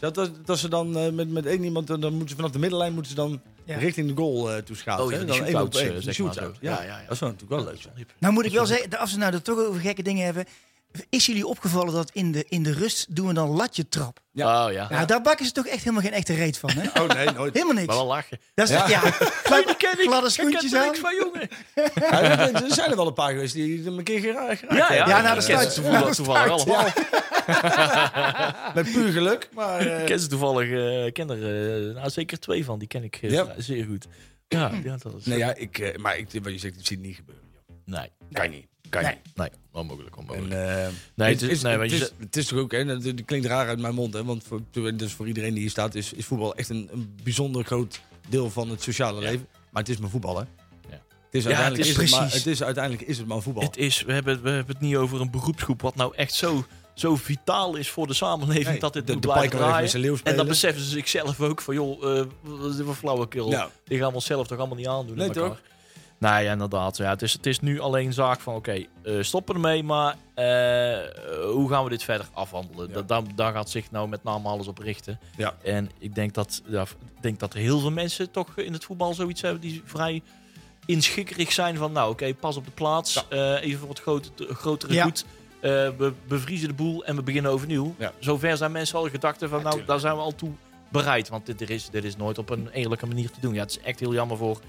Speaker 3: Dat, dat, dat ze dan eh, met, met één iemand, dan dan moeten ze vanaf de middenlijn moeten ze dan
Speaker 4: Ja.
Speaker 3: richting de goal eh toeschaven.
Speaker 2: Oh ja,
Speaker 3: hè?
Speaker 2: die
Speaker 3: dan één
Speaker 2: shootouts,
Speaker 3: op één.
Speaker 2: eh,
Speaker 3: Die
Speaker 2: zeg maar
Speaker 3: shootout.
Speaker 2: zo.
Speaker 3: Ja.
Speaker 2: Ja, ja, ja.
Speaker 3: dat zou natuurlijk wel leuk zijn.
Speaker 4: Nou moet ik wel zeggen, als we nou er toch over gekke dingen hebben. Is jullie opgevallen dat in de, in de rust doen we dan latje trap?
Speaker 2: Ja. Oh ja.
Speaker 4: Nou, daar bakken ze toch echt helemaal geen echte reet van, hè?
Speaker 3: Oh nee, nooit.
Speaker 4: <laughs> Helemaal niks.
Speaker 2: Maar wel lachen.
Speaker 4: Dat is
Speaker 3: Ja.
Speaker 4: ja. Gladde, gladde
Speaker 2: Ik
Speaker 4: schoentjes
Speaker 2: ken er
Speaker 4: aan.
Speaker 2: niks van, jongen.
Speaker 3: Ja, er- er zijn er wel een paar geweest die hem een keer geraakt hebben.
Speaker 2: <laughs> Ja, ja.
Speaker 4: Ja, nou,
Speaker 2: Ik
Speaker 4: dat
Speaker 2: ken
Speaker 4: staat-
Speaker 2: ze toevallig,
Speaker 4: dat
Speaker 2: toevallig
Speaker 4: staat,
Speaker 2: allemaal.
Speaker 3: Met puur geluk, maar... eh,
Speaker 2: Ik ken ze toevallig. eh, Ik ken er eh, nou, zeker twee van. Die ken ik eh,
Speaker 3: Ja.
Speaker 2: zeer goed. Ja, ja, dat is...
Speaker 3: nee, ja, ik, eh, maar ik, wat je zegt, ik zie het niet gebeuren. joh.
Speaker 2: Nee.
Speaker 3: Kan niet. Kan
Speaker 4: Nee.
Speaker 3: niet.
Speaker 2: Nee, onmogelijk, onmogelijk.
Speaker 3: En, eh,
Speaker 2: Nee, het
Speaker 3: het,
Speaker 2: is-
Speaker 3: is,
Speaker 2: nee, maar
Speaker 3: het,
Speaker 2: je
Speaker 3: is,
Speaker 2: zegt-
Speaker 3: het is toch ook, hè, dat, dat klinkt raar uit mijn mond, hè, want voor, dus voor iedereen die hier staat is, is voetbal echt een, een bijzonder groot deel van het sociale leven. Maar het is maar voetbal, hè?
Speaker 2: Ja.
Speaker 3: Het is
Speaker 2: Ja,
Speaker 3: uiteindelijk,
Speaker 2: het
Speaker 3: is,
Speaker 2: is
Speaker 3: het maar,
Speaker 4: precies.
Speaker 3: het is, uiteindelijk is het maar voetbal.
Speaker 2: Het is, we, hebben, we hebben het niet over een beroepsgroep wat nou echt zo, zo vitaal is voor de samenleving
Speaker 3: Nee,
Speaker 2: dat dit
Speaker 3: de-
Speaker 2: moet
Speaker 3: de
Speaker 2: blijven
Speaker 3: Pike wil
Speaker 2: draaien.
Speaker 3: even met zijn leeuw
Speaker 2: en
Speaker 3: spelen.
Speaker 2: dan beseffen ze zichzelf ook van, joh, eh, wat is dit voor flauwekul?
Speaker 3: Ja.
Speaker 2: Die gaan we onszelf toch allemaal niet aandoen
Speaker 3: Nee,
Speaker 2: aan elkaar.
Speaker 3: toch?
Speaker 2: Nee, ja, inderdaad. Ja, het, is, het is nu alleen zaak van, oké, eh, stop ermee, maar eh, eh, hoe gaan we dit verder afhandelen? Dat, daar, daar gaat zich nou met name alles op richten.
Speaker 3: Ja.
Speaker 2: En ik denk dat, ja, ik denk dat er heel veel mensen toch in het voetbal zoiets hebben die vrij inschikkerig zijn van, nou oké, pas op de plaats, eh, even voor het grote, grotere
Speaker 4: Ja.
Speaker 2: goed. Eh, we bevriezen de boel en we beginnen overnieuw.
Speaker 3: Ja.
Speaker 2: Zover zijn mensen al gedachten van, nou daar zijn we al toe bereid. Want dit, er is, dit is nooit op een eerlijke manier te doen. Ja, het is echt heel jammer voor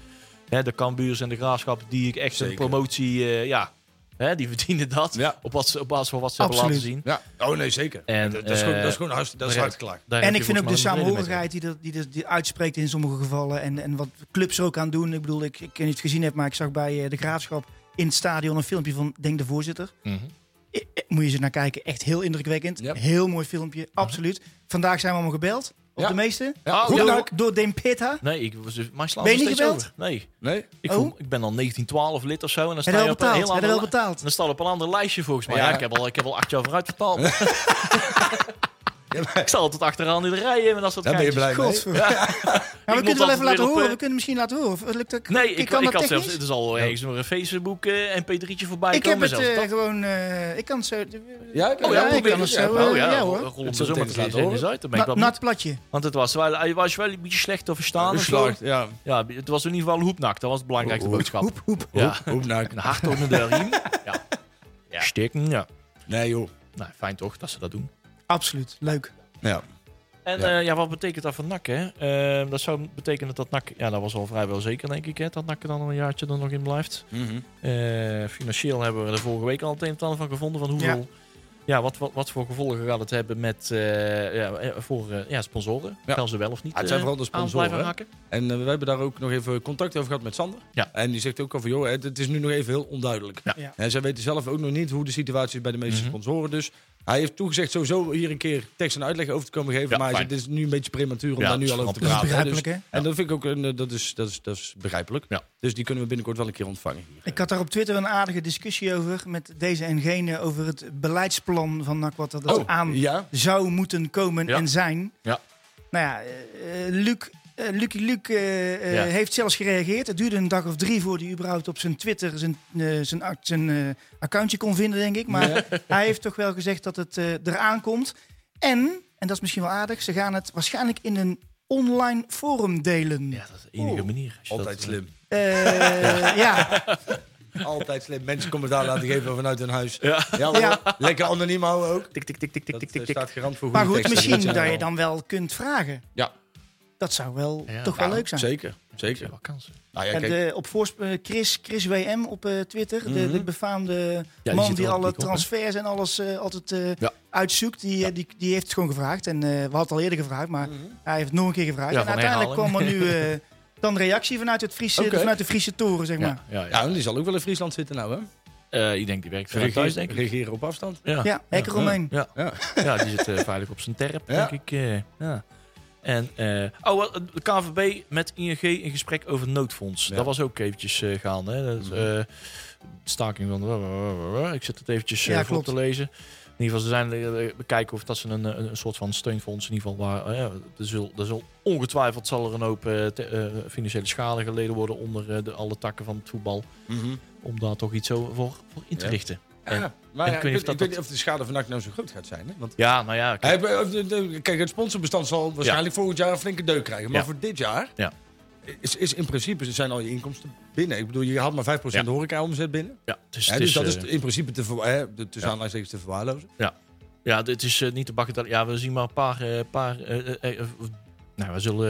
Speaker 2: hè, de Kambuurs en de Graafschap die ik echt een
Speaker 3: Zeker.
Speaker 2: promotie, eh, ja, hè, die <laughs> verdienen dat.
Speaker 3: Ja.
Speaker 2: Op, wat, ze- op basis van wat ze hebben
Speaker 4: Absoluut.
Speaker 2: laten zien.
Speaker 3: Ja, oh nee, zeker.
Speaker 2: En,
Speaker 3: dat, dat is gewoon,
Speaker 2: eh,
Speaker 3: dat is gewoon hartst- dat is
Speaker 2: maar ja,
Speaker 3: hard klaar.
Speaker 2: Daar heb
Speaker 4: En
Speaker 2: je
Speaker 4: ik vind
Speaker 2: volgens
Speaker 4: ook
Speaker 2: mij
Speaker 4: de
Speaker 2: een reden mee.
Speaker 4: samenhorigheid die, dat- die, dat- die uitspreekt in sommige gevallen. En, en wat clubs er ook aan doen. Ik bedoel, ik, ik weet niet of je het gezien heb, maar ik zag bij eh, de Graafschap in het stadion een filmpje van Denk de Voorzitter.
Speaker 2: Mhm.
Speaker 4: Eh, eh, Moet je eens naar kijken. Echt heel indrukwekkend.
Speaker 3: Ja.
Speaker 4: Heel mooi filmpje, absoluut. Vandaag zijn we allemaal gebeld. Op
Speaker 3: Ja.
Speaker 4: de meeste.
Speaker 3: Ja,
Speaker 2: Mhm. Oh,
Speaker 3: goed
Speaker 4: door,
Speaker 3: dank.
Speaker 4: door Dame Pitta.
Speaker 2: Nee, ik, was- mijn slaan
Speaker 4: Ben je
Speaker 2: is
Speaker 4: niet
Speaker 2: steeds
Speaker 4: gebeld?
Speaker 2: over. Nee.
Speaker 3: Nee?
Speaker 2: Ik,
Speaker 4: Oh.
Speaker 2: voel- ik ben al 1912 lid of zo. En dan
Speaker 4: Heb
Speaker 2: sta
Speaker 4: je
Speaker 2: je
Speaker 4: wel
Speaker 2: op een
Speaker 4: betaald?
Speaker 2: heel
Speaker 4: Heb je
Speaker 2: ander
Speaker 4: wel
Speaker 2: li-
Speaker 4: betaald?
Speaker 2: dan sta je op een ander lijstje volgens mij.
Speaker 3: Ja.
Speaker 2: Ja, ik, heb al, ik heb al acht jaar vooruit
Speaker 3: <laughs>
Speaker 2: betaald.
Speaker 3: Ja, maar-
Speaker 2: ik zal altijd achteraan in de rij hebben als dat
Speaker 3: Daar ben je
Speaker 2: geintjes.
Speaker 3: blij mee.
Speaker 4: Godver- Maar
Speaker 2: moet
Speaker 4: we kunnen wel
Speaker 2: altijd
Speaker 4: even laten
Speaker 2: weer op,
Speaker 4: horen.
Speaker 2: eh,
Speaker 4: We kunnen misschien laten horen. Of het Lukt dat,
Speaker 2: Nee, ik,
Speaker 4: kan
Speaker 2: ik
Speaker 4: dat
Speaker 2: had
Speaker 4: technisch?
Speaker 2: zelfs... Het is al ergens nog een Facebook eh, mp3'tje voorbij
Speaker 4: Ik heb
Speaker 2: komen
Speaker 4: het
Speaker 2: zelfs.
Speaker 4: eh,
Speaker 2: Dat-
Speaker 4: gewoon... eh, ik kan het zo...
Speaker 3: Ja, ik,
Speaker 2: Oh ja,
Speaker 4: ik
Speaker 2: probeer het.
Speaker 4: kan het zo,
Speaker 2: Ja,
Speaker 4: eh,
Speaker 2: Oh ja,
Speaker 4: ja,
Speaker 2: rol-
Speaker 4: hoor.
Speaker 2: rol
Speaker 3: Het
Speaker 2: hem
Speaker 3: zo
Speaker 2: er zo maar
Speaker 3: meteen
Speaker 2: eens
Speaker 3: laten
Speaker 2: in eens uit. Dan ben ik
Speaker 4: Na-
Speaker 2: wel
Speaker 4: Nat
Speaker 2: benieuwd.
Speaker 4: platje.
Speaker 2: Want het was wel, hij was wel een beetje slecht te verstaan. of zo.
Speaker 3: Geslaagd, Oh, ja.
Speaker 2: Ja, het was in ieder geval hoepnak. Dat was de belangrijkste
Speaker 3: Oeh,
Speaker 2: boodschap.
Speaker 4: Hoep, hoep.
Speaker 2: Ja,
Speaker 3: Oep, nou,
Speaker 2: een hart onder de riem. Ja. ja. Stikken, ja.
Speaker 3: nee joh.
Speaker 2: Nou, fijn toch dat ze dat doen.
Speaker 4: Absoluut, leuk.
Speaker 3: Ja.
Speaker 2: En
Speaker 3: Ja.
Speaker 2: ja. ja, wat betekent dat voor NAC? Hè? Eh, dat zou betekenen dat NAC... Ja, dat was al vrijwel zeker, denk ik. Hè, dat NAC er dan een jaartje er nog in blijft. Eh, financieel hebben we er vorige week al het een en het ander van gevonden. Van hoeveel, ja. wat, wat, wat voor gevolgen gaat het hebben met, eh, ja, eh, voor eh, ja, sponsoren?
Speaker 3: Ja.
Speaker 2: Gaan ze wel of niet
Speaker 3: Ah, het zijn
Speaker 2: eh,
Speaker 3: vooral de
Speaker 2: aan
Speaker 3: sponsoren,
Speaker 2: blijven
Speaker 3: hè?
Speaker 2: hakken?
Speaker 3: En eh, we hebben daar ook nog even contact over gehad met Sander.
Speaker 2: Ja.
Speaker 3: En die zegt ook al van, joh, het, het is nu nog even heel onduidelijk.
Speaker 2: Ja.
Speaker 4: Ja.
Speaker 3: En zij weten zelf ook nog niet hoe de situatie is bij de meeste
Speaker 2: Mhm.
Speaker 3: sponsoren. Dus Hij heeft toegezegd sowieso hier een keer tekst en uitleg over te komen geven.
Speaker 2: Ja,
Speaker 3: maar hij
Speaker 2: fijn.
Speaker 3: zegt, het is nu een beetje prematuur om
Speaker 2: Ja,
Speaker 3: daar nu
Speaker 2: dat
Speaker 3: al
Speaker 2: snap
Speaker 3: over te
Speaker 2: ik.
Speaker 4: Dat is
Speaker 3: praten. hè. Dus-
Speaker 4: begrijpelijk, hè?
Speaker 3: En dat vind ik ook, een, eh, dat, is, dat, is, dat is begrijpelijk.
Speaker 2: Ja.
Speaker 3: Dus die kunnen we binnenkort wel een keer ontvangen. hier.
Speaker 4: Ik had daar op Twitter een aardige discussie over met deze en gene over het beleidsplan van NAC wat er dus aan
Speaker 3: Oh, ja.
Speaker 4: zou moeten komen
Speaker 2: Oh, Ja.
Speaker 4: en zijn.
Speaker 2: Ja.
Speaker 4: Nou ja, eh, eh, Luc, eh, Lucky Luke eh, eh,
Speaker 2: Ja.
Speaker 4: heeft zelfs gereageerd. Het duurde een dag of drie voordat hij überhaupt op zijn Twitter zijn, eh, zijn, ac- zijn eh, accountje kon vinden, denk ik. Maar <laughs> hij heeft toch wel gezegd dat het eh, eraan komt. En, en dat is misschien wel aardig, ze gaan het waarschijnlijk in een online forum delen.
Speaker 2: Ja, dat is de enige
Speaker 4: Oeh.
Speaker 2: manier. Als je
Speaker 3: Altijd
Speaker 2: dat,
Speaker 3: slim.
Speaker 2: <laughs>
Speaker 4: Eh, ja.
Speaker 3: Altijd slim. Mensen commentaar laten geven vanuit hun huis.
Speaker 2: Ja.
Speaker 3: hoor.
Speaker 4: Ja.
Speaker 3: Lekker anoniem houden ook.
Speaker 2: Tik, tik, tik, tik, tik,
Speaker 3: Dat
Speaker 2: tik,
Speaker 3: eh,
Speaker 2: tik, tik.
Speaker 3: staat garant voor
Speaker 4: Maar
Speaker 3: goede
Speaker 4: goed,
Speaker 3: teksten.
Speaker 4: misschien
Speaker 3: zijn
Speaker 4: dat je
Speaker 3: wel-
Speaker 4: dan wel kunt vragen.
Speaker 3: Ja.
Speaker 4: Dat zou wel
Speaker 2: Ja,
Speaker 4: toch wel
Speaker 3: Ja,
Speaker 4: leuk zijn.
Speaker 3: Zeker,
Speaker 2: Ja,
Speaker 3: zeker.
Speaker 2: wel kansen.
Speaker 3: Nou ja,
Speaker 4: En
Speaker 3: kijk,
Speaker 4: de, op voorsp- eh, Chris, Chris WM op eh, Twitter, de- de,
Speaker 3: Mhm.
Speaker 4: befaamde
Speaker 2: die
Speaker 4: man
Speaker 2: zit
Speaker 4: die
Speaker 2: er wel
Speaker 4: alle
Speaker 2: dik op, hè?
Speaker 4: transfers en alles eh, altijd eh,
Speaker 2: Ja.
Speaker 4: uitzoekt, die, eh, die, die heeft het gewoon gevraagd. En eh, we hadden het al eerder gevraagd, maar hij heeft het nog een keer gevraagd.
Speaker 2: Ja,
Speaker 4: en
Speaker 2: van
Speaker 4: uiteindelijk
Speaker 2: herhaling.
Speaker 4: kwam er nu eh, dan reactie vanuit, het Friese,
Speaker 3: Oké.
Speaker 4: vanuit de Friese toren, zeg maar.
Speaker 2: Ja, ja, ja.
Speaker 3: ja, die zal ook wel in Friesland zitten nou, hè?
Speaker 2: Eh, ik denk die werkt vanuit thuis, denk ik.
Speaker 3: Regeren op afstand.
Speaker 2: Ah. Ja,
Speaker 4: Ja, hekker omheen.
Speaker 2: Ja.
Speaker 3: Ja.
Speaker 2: Ja. die zit eh, veilig op zijn terp,
Speaker 3: Ja.
Speaker 2: denk ik. eh, ja. En, eh, oh, wel, de KVB met ING in gesprek over noodfonds.
Speaker 3: Ja. Mhm.
Speaker 2: Dat was ook eventjes eh, gaande. Hè. Dat, eh, staking van... Ik zit het eventjes eh,
Speaker 4: Ja,
Speaker 2: voor op te
Speaker 4: klopt.
Speaker 2: lezen. In ieder geval, ze zijn eh, bekijken of dat ze een, eh, een, een soort van steunfonds in ieder geval waar eh, er, zal, er zal ongetwijfeld zal er een hoop eh, te- eh, financiële schade geleden worden onder eh, de, alle takken van het voetbal om daar toch iets over voor, voor in te
Speaker 3: Ja.
Speaker 2: richten.
Speaker 3: Mhm. Ja, maar
Speaker 2: en
Speaker 3: ja,
Speaker 2: ik weet niet
Speaker 3: ik, weet,
Speaker 2: of
Speaker 3: ik
Speaker 2: dat-
Speaker 3: weet niet of de schade vannacht nou zo groot gaat zijn. Hè? Want
Speaker 2: Ja, nou ja, kijk,
Speaker 3: Hij- eh, de- de- Kijk, het sponsorbestand zal waarschijnlijk volgend jaar een flinke deuk krijgen. Maar
Speaker 2: Ja.
Speaker 3: voor dit jaar
Speaker 2: Ja.
Speaker 3: is, is in principe zijn al je inkomsten binnen. Ik bedoel, je had maar 5%
Speaker 2: Ja.
Speaker 3: horeca-omzet binnen.
Speaker 2: ja, het is-
Speaker 3: Hè,
Speaker 2: het
Speaker 3: dus
Speaker 2: is,
Speaker 3: dat
Speaker 2: eh,
Speaker 3: is in principe te, ver- hè, de- tussen aanleidingstekens te verwaarlozen.
Speaker 2: Ja, dit is eh, niet te bakken. Ja, we zien maar een paar. eh, paar eh, eh, eh, eh, nou, we zullen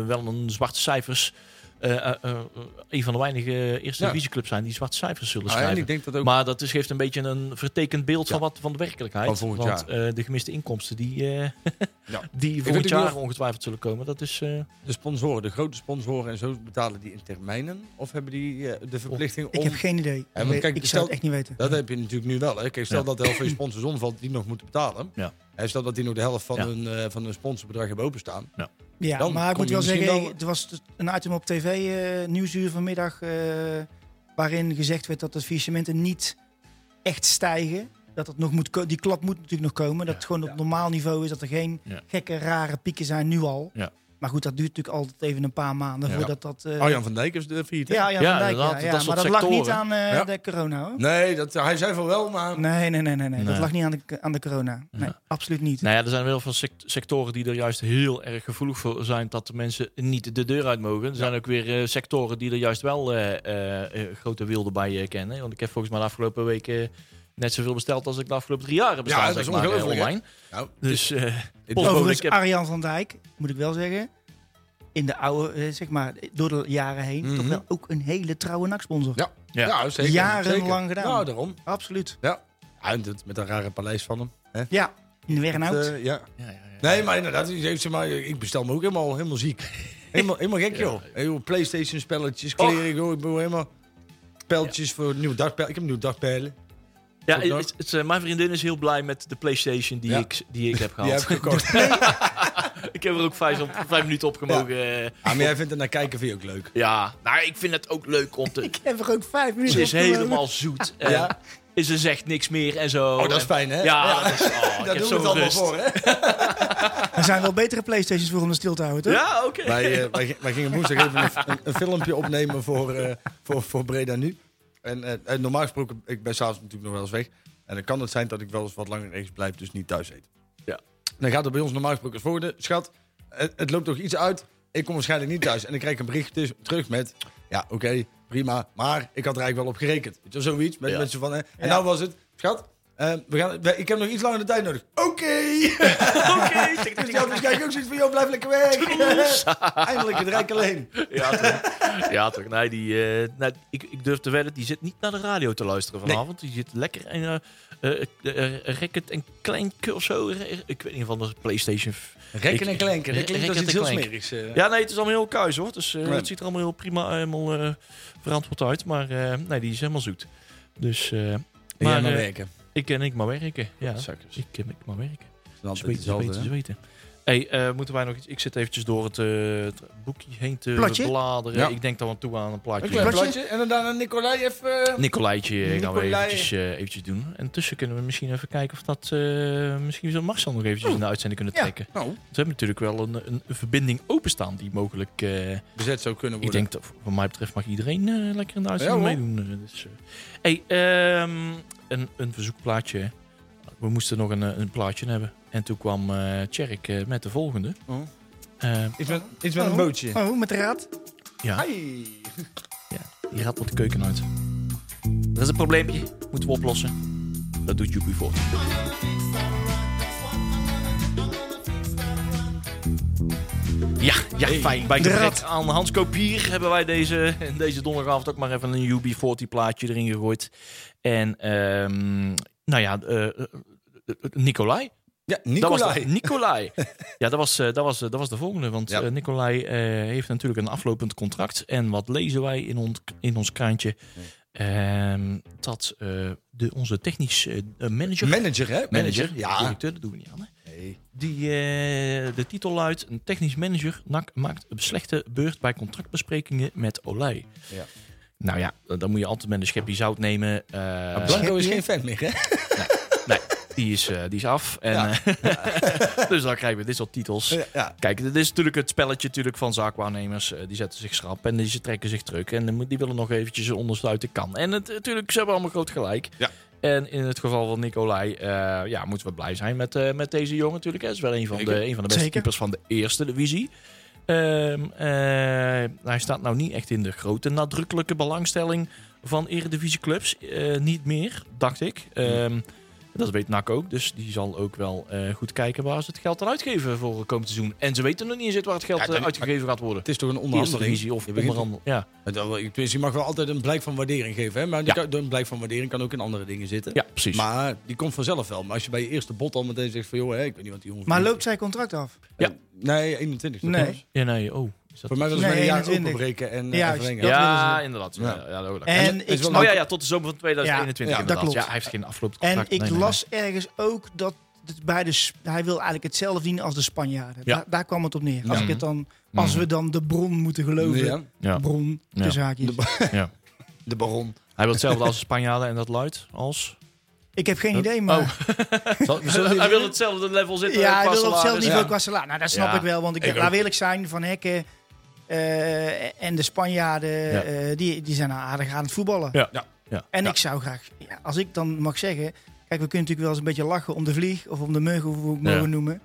Speaker 2: eh, wel een zwarte cijfers. eh, eh, eh, een van de weinige eerste
Speaker 3: Ja.
Speaker 2: divisieclubs zijn die zwarte cijfers zullen
Speaker 3: Ah, en
Speaker 2: schrijven.
Speaker 3: ik denk dat ook
Speaker 2: Maar dat is, geeft een beetje een vertekend beeld van,
Speaker 3: Ja.
Speaker 2: wat, van de werkelijkheid.
Speaker 3: Van volgend
Speaker 2: Want eh, de gemiste inkomsten die, eh, <laughs>
Speaker 3: Ja.
Speaker 2: die
Speaker 3: weet
Speaker 2: volgend
Speaker 3: ook
Speaker 2: jaar
Speaker 3: niet
Speaker 2: ongetwijfeld zullen komen, dat is... eh,
Speaker 3: de sponsoren, de grote sponsoren en zo, betalen die in termijnen? Of hebben die eh,
Speaker 2: Oh,
Speaker 3: de verplichting
Speaker 4: Ik
Speaker 3: om...
Speaker 4: heb geen idee.
Speaker 3: want
Speaker 4: Ik weet-
Speaker 3: kijk,
Speaker 4: ik zou
Speaker 3: stel-
Speaker 4: het echt niet weten.
Speaker 3: Dat heb je natuurlijk nu wel. Hè? Kijk, stel
Speaker 2: Ja.
Speaker 3: dat de helft van je sponsors omvalt die nog moeten betalen.
Speaker 2: Ja.
Speaker 3: En stel dat die nog de helft van,
Speaker 2: Ja.
Speaker 3: hun, eh, van hun sponsorbedrag hebben openstaan.
Speaker 4: Ja,
Speaker 3: Dan
Speaker 4: maar ik
Speaker 3: kom
Speaker 4: moet
Speaker 3: je
Speaker 4: wel
Speaker 3: misschien
Speaker 4: zeggen,
Speaker 3: wel-
Speaker 4: er was t- een item op tv, eh, Nieuwsuur vanmiddag, eh, waarin gezegd werd dat de faillissementen niet echt stijgen. Dat het nog moet ko- die klap moet natuurlijk nog komen. Dat het gewoon op normaal niveau is, dat er geen
Speaker 2: Ja.
Speaker 4: gekke, rare pieken zijn nu al.
Speaker 2: Ja.
Speaker 4: Maar goed, dat duurt natuurlijk altijd even een paar maanden
Speaker 3: Ja.
Speaker 4: voordat dat... eh,
Speaker 3: Arjan Oh, van Dijk is de failliet. hè?
Speaker 4: ja, Arjan
Speaker 2: Ja,
Speaker 4: van Dijk, ja,
Speaker 2: inderdaad,
Speaker 4: ja.
Speaker 2: dat soort
Speaker 4: maar dat lag niet
Speaker 2: sectoren.
Speaker 4: aan eh,
Speaker 3: Ja.
Speaker 4: de corona hoor.
Speaker 3: Nee, dat, hij zei van wel, maar...
Speaker 4: Nee, nee, nee, nee, nee. Dat
Speaker 2: Nee.
Speaker 4: lag niet aan de, aan de corona. Nee,
Speaker 2: Ja.
Speaker 4: absoluut niet.
Speaker 2: Nou ja, er zijn wel veel sect- sectoren die er juist heel erg gevoelig voor zijn dat de mensen niet de deur uit mogen. Er zijn ook weer eh, sectoren die er juist wel eh, eh, eh, grote wilden bij eh, kennen. Want ik heb volgens mij de afgelopen weken eh, net zoveel besteld als ik de afgelopen drie jaar heb besteld.
Speaker 3: dat is
Speaker 2: zeg maar, eh,
Speaker 3: ongelooflijk, hè?
Speaker 2: online.
Speaker 3: Nou,
Speaker 2: Dus eh,
Speaker 3: dit-
Speaker 2: Paul-
Speaker 4: Overigens,
Speaker 2: ik heb-
Speaker 4: Arjan van Dijk, moet ik wel zeggen, in de oude, eh, zeg maar, door de jaren heen,
Speaker 3: Mhm.
Speaker 4: toch wel ook een hele trouwe NAC-sponsor.
Speaker 3: Ja.
Speaker 2: ja.
Speaker 3: ja, zeker.
Speaker 4: Jarenlang
Speaker 3: zeker.
Speaker 4: gedaan.
Speaker 3: Nou, daarom.
Speaker 4: Absoluut.
Speaker 3: Hij doet het met een rare paleis van hem.
Speaker 4: Ja, in de Wernhout.
Speaker 3: Eh, ja.
Speaker 2: Ja, ja, ja.
Speaker 3: Nee, maar inderdaad, hij heeft, zeg maar, ik bestel me ook helemaal, helemaal ziek. Helemaal, helemaal gek, joh. Heel Playstation spelletjes, kleren, joh. Ik bedoel, helemaal pijltjes voor nieuwe dagpijlen. Ik heb nieuwe dagpijlen.
Speaker 2: Ja,
Speaker 3: Goed,
Speaker 2: het- het- eh, mijn vriendin is heel blij met de PlayStation die,
Speaker 3: Ja.
Speaker 2: ik, die ik heb
Speaker 3: <laughs> Die heb
Speaker 2: gehad.
Speaker 3: ik gekocht.
Speaker 2: ik heb er ook vijf, op, vijf minuten op gemogen. eh.
Speaker 3: Ah, maar jij vindt het naar kijken vind je ook leuk.
Speaker 2: Ja, nou, ik vind het ook leuk om
Speaker 3: <laughs>
Speaker 2: te.
Speaker 4: Ik heb er ook vijf minuten
Speaker 2: Ze is
Speaker 4: opgenomen.
Speaker 2: helemaal zoet. En
Speaker 3: Ja.
Speaker 2: Ze zegt niks meer en zo.
Speaker 3: Oh, dat is
Speaker 2: En-
Speaker 3: fijn, hè?
Speaker 2: Ja, dat
Speaker 3: <laughs>
Speaker 2: is, oh, ik heb
Speaker 3: Daar doen we het
Speaker 2: zo'n
Speaker 3: allemaal
Speaker 2: rust.
Speaker 3: voor, hè?
Speaker 4: Er zijn wel betere Playstations voor om de stil te houden, toch?
Speaker 2: Ja, oké.
Speaker 3: Wij, eh, wij, wij gingen woensdag even een, een, een filmpje opnemen voor, eh, voor, voor Breda Nu. En eh, eh, normaal gesproken, ik ben s'avonds natuurlijk nog wel eens weg. En dan kan het zijn dat ik wel eens wat langer ergens blijf, dus niet thuis eten.
Speaker 2: Ja.
Speaker 3: Dan gaat het bij ons normaal gesproken als volgende. Schat, het, het loopt toch iets uit. Ik kom waarschijnlijk niet thuis. En dan krijg ik een bericht dus terug met... Ja, oké, prima. Maar ik had er eigenlijk wel op gerekend. Weet je wel, zoiets. Met
Speaker 2: Ja.
Speaker 3: mensen van... eh, en nou was het, schat... eh, we gaan, we- ik heb nog iets langer de tijd nodig. Oké!
Speaker 2: <laughs> Oké.
Speaker 3: <laughs>
Speaker 2: tik, tik,
Speaker 3: Dus
Speaker 2: tik.
Speaker 3: jij waarschijnlijk ook zoiets van, joh, blijf lekker weg. Eindelijk het rijk alleen.
Speaker 2: <laughs> Ja, toch. Ja, toch. Nee, die, eh, nee, ik, ik durf te wedden, die zit niet naar de radio te luisteren vanavond. Die zit lekker in eh eh, eh, eh, Racket en Kleinke of zo. Eh, eh, Ik weet niet van de Playstation.
Speaker 3: Rekken en
Speaker 2: Ik-
Speaker 3: klenken, dat
Speaker 2: Re-
Speaker 3: klinkt als iets
Speaker 2: rekken
Speaker 3: heel
Speaker 2: en
Speaker 3: smerigs. eh.
Speaker 2: Ja, nee, het is allemaal heel kuis hoor. Dus eh,
Speaker 3: Nee.
Speaker 2: het ziet er allemaal heel prima, helemaal eh, verantwoord uit. Maar eh, nee, die is helemaal zoet. Dus, eh,
Speaker 3: En jij
Speaker 2: maar,
Speaker 3: maar
Speaker 2: eh,
Speaker 3: werken.
Speaker 2: Ik en ik maar werken. Ja,
Speaker 3: Zakkers.
Speaker 2: ik en ik maar werken.
Speaker 3: Dat is
Speaker 2: Zweten, zweten, zweten. Hey, eh, moeten wij nog iets? Ik zit eventjes door het, eh, het boekje heen te
Speaker 4: Platje?
Speaker 2: bladeren.
Speaker 3: Ja.
Speaker 2: Ik denk dan toe aan een plaatje.
Speaker 3: Een klein
Speaker 4: Platje?
Speaker 3: platje. En dan daarna Nicolai even... eh,
Speaker 2: Nicolaitje eh, gaan we
Speaker 3: Nicolai.
Speaker 2: eventjes, eh, eventjes doen. En tussen kunnen we misschien even kijken of dat... eh, misschien zou Marcel nog eventjes in de uitzending kunnen
Speaker 4: Ja.
Speaker 2: trekken.
Speaker 3: Nou.
Speaker 2: Want we hebben natuurlijk wel een, een verbinding openstaan die mogelijk... eh,
Speaker 3: bezet zou kunnen
Speaker 2: ik
Speaker 3: worden.
Speaker 2: denk dat wat mij betreft mag iedereen eh, lekker in de uitzending
Speaker 3: Ja, hoor.
Speaker 2: meedoen. eh, dus, eh. hey, ehm, een, een verzoekplaatje. We moesten nog een, eh, een plaatje hebben. En toen kwam eh Tjerk eh, met de volgende.
Speaker 3: Oh.
Speaker 2: Eh,
Speaker 3: Iets met, iets met
Speaker 4: Oh.
Speaker 3: een bootje.
Speaker 4: Oh, met de raad.
Speaker 2: ja,
Speaker 3: Ai.
Speaker 2: die gaat wat de keuken uit. Er is een probleempje. Moeten we oplossen. Dat doet Joepie voor. Ja, ja, fijn. Bij gebrek aan Hans Kopier hebben wij deze, <laughs> deze donderdagavond ook maar even een UB40 plaatje erin gegooid. En ehm, nou ja, eh, eh, eh, Nicolai.
Speaker 3: Ja,
Speaker 2: Dat was
Speaker 3: Nicolai.
Speaker 2: de- Nicolai. <laughs> ja, dat was, eh, dat, was, eh, dat was de volgende. Want
Speaker 3: Ja.
Speaker 2: eh, Nicolai eh, heeft natuurlijk een aflopend contract. En wat lezen wij in, ons in ons kraantje? Ehm, dat eh, de, onze technisch eh, manager...
Speaker 3: Manager, hè?
Speaker 2: Manager,
Speaker 3: Ja.
Speaker 2: directeur, dat doen we niet aan. Hè? Die, eh, de titel luidt: Een technisch manager NAC maakt een slechte beurt bij contractbesprekingen met Olij.
Speaker 3: Ja.
Speaker 2: Nou ja, dan moet je altijd met een schepje zout nemen. eh,
Speaker 3: Blanco is geen fan meer, hè?
Speaker 2: nee, die is, eh, die is af. En,
Speaker 3: Ja.
Speaker 2: eh, <laughs> dus dan krijgen we dit soort titels.
Speaker 3: Ja.
Speaker 2: Kijk, dit is natuurlijk het spelletje natuurlijk van zaakwaarnemers. Eh, die zetten zich schrap en die ze trekken zich terug. En dan moet- die willen nog eventjes ondersluiten kan. En het, natuurlijk, ze hebben allemaal groot gelijk.
Speaker 3: Ja.
Speaker 2: En in het geval van Nicolai, eh, ja, moeten we blij zijn met, eh, met deze jongen natuurlijk. Hij is wel een van, de, een van de beste
Speaker 4: Zeker.
Speaker 2: keepers van de eerste divisie. Ehm, eh, hij staat nou niet echt in de grote nadrukkelijke belangstelling van eredivisieclubs. Eh niet meer, dacht ik. Ehm, dat weet NAC ook, dus die zal ook wel eh, goed kijken waar ze het geld aan uitgeven voor het komend seizoen. En ze weten nog niet eens waar het geld
Speaker 3: Ja,
Speaker 2: eh,
Speaker 3: dat-
Speaker 2: uitgegeven gaat worden.
Speaker 3: Het is toch een
Speaker 2: Eerste
Speaker 3: onderhandeling?
Speaker 2: divisie of
Speaker 3: Je begint-
Speaker 2: onderhandel. Ja.
Speaker 3: Het- tenminste, je mag wel altijd een blijk van waardering geven, hè? Maar die kan- een blijk van waardering kan ook in andere dingen zitten.
Speaker 2: ja, precies.
Speaker 3: Maar die komt vanzelf wel. Maar als je bij je eerste bot al meteen zegt van... joh, hè, ik weet niet wat die jongen...
Speaker 4: Maar
Speaker 3: verdient.
Speaker 4: loopt zijn contract af?
Speaker 3: Nee, 21.
Speaker 4: Nee.
Speaker 3: Nee.
Speaker 2: ja, nee, oh. Is dat...
Speaker 3: Voor mij was het
Speaker 4: Nee,
Speaker 3: met een jaar
Speaker 4: 21.
Speaker 3: openbreken en eh,
Speaker 4: Ja,
Speaker 3: verlengen.
Speaker 4: dat willen
Speaker 2: ja,
Speaker 4: ze.
Speaker 2: inderdaad. Ja.
Speaker 3: Ja.
Speaker 2: ja, dat- dat-
Speaker 4: En
Speaker 3: is
Speaker 4: ik
Speaker 3: wel
Speaker 4: snap-
Speaker 2: oh ja, ja, tot de zomer van 2021
Speaker 3: Ja,
Speaker 4: dat
Speaker 2: inderdaad.
Speaker 4: klopt.
Speaker 2: Ja, hij heeft geen afgelopen
Speaker 4: En
Speaker 2: contract.
Speaker 4: ik
Speaker 2: Nee, nee,
Speaker 4: las ergens ook dat het bij de, Sp- hij wil eigenlijk hetzelfde verdienen als de Spanjaarden.
Speaker 2: Ja.
Speaker 4: Daar, daar kwam het op neer. Als,
Speaker 2: Ja.
Speaker 4: ik het dan, als we dan de bron moeten geloven.
Speaker 3: Ja,
Speaker 2: nee. Ja.
Speaker 4: Bron,
Speaker 2: Ja.
Speaker 4: tussen haakjes.
Speaker 2: Ja.
Speaker 3: de baron.
Speaker 2: Hij wil hetzelfde als de Spanjaarden en dat luidt als...
Speaker 4: Ik heb geen idee,
Speaker 2: Oh.
Speaker 4: maar
Speaker 3: Zal- zullen we die-
Speaker 2: <laughs> Hij wil hetzelfde level zitten
Speaker 4: ja,
Speaker 2: qua
Speaker 4: hij wil op
Speaker 2: salaris.
Speaker 4: hetzelfde niveau
Speaker 3: Ja.
Speaker 4: qua salaris. Nou, dat snap
Speaker 2: Ja,
Speaker 4: ik wel, want ik,
Speaker 2: ik
Speaker 4: laat wil ik zijn van Hekken eh, en de Spanjaarden,
Speaker 2: Ja.
Speaker 4: eh, die, die zijn nou aardig aan het voetballen.
Speaker 2: Ja. Ja. Ja.
Speaker 4: En
Speaker 2: Ja.
Speaker 4: ik zou graag, ja, als ik dan mag zeggen, kijk, we kunnen natuurlijk wel eens een beetje lachen om de vlieg of om de mug, of hoe we het
Speaker 2: Ja.
Speaker 4: mogen noemen.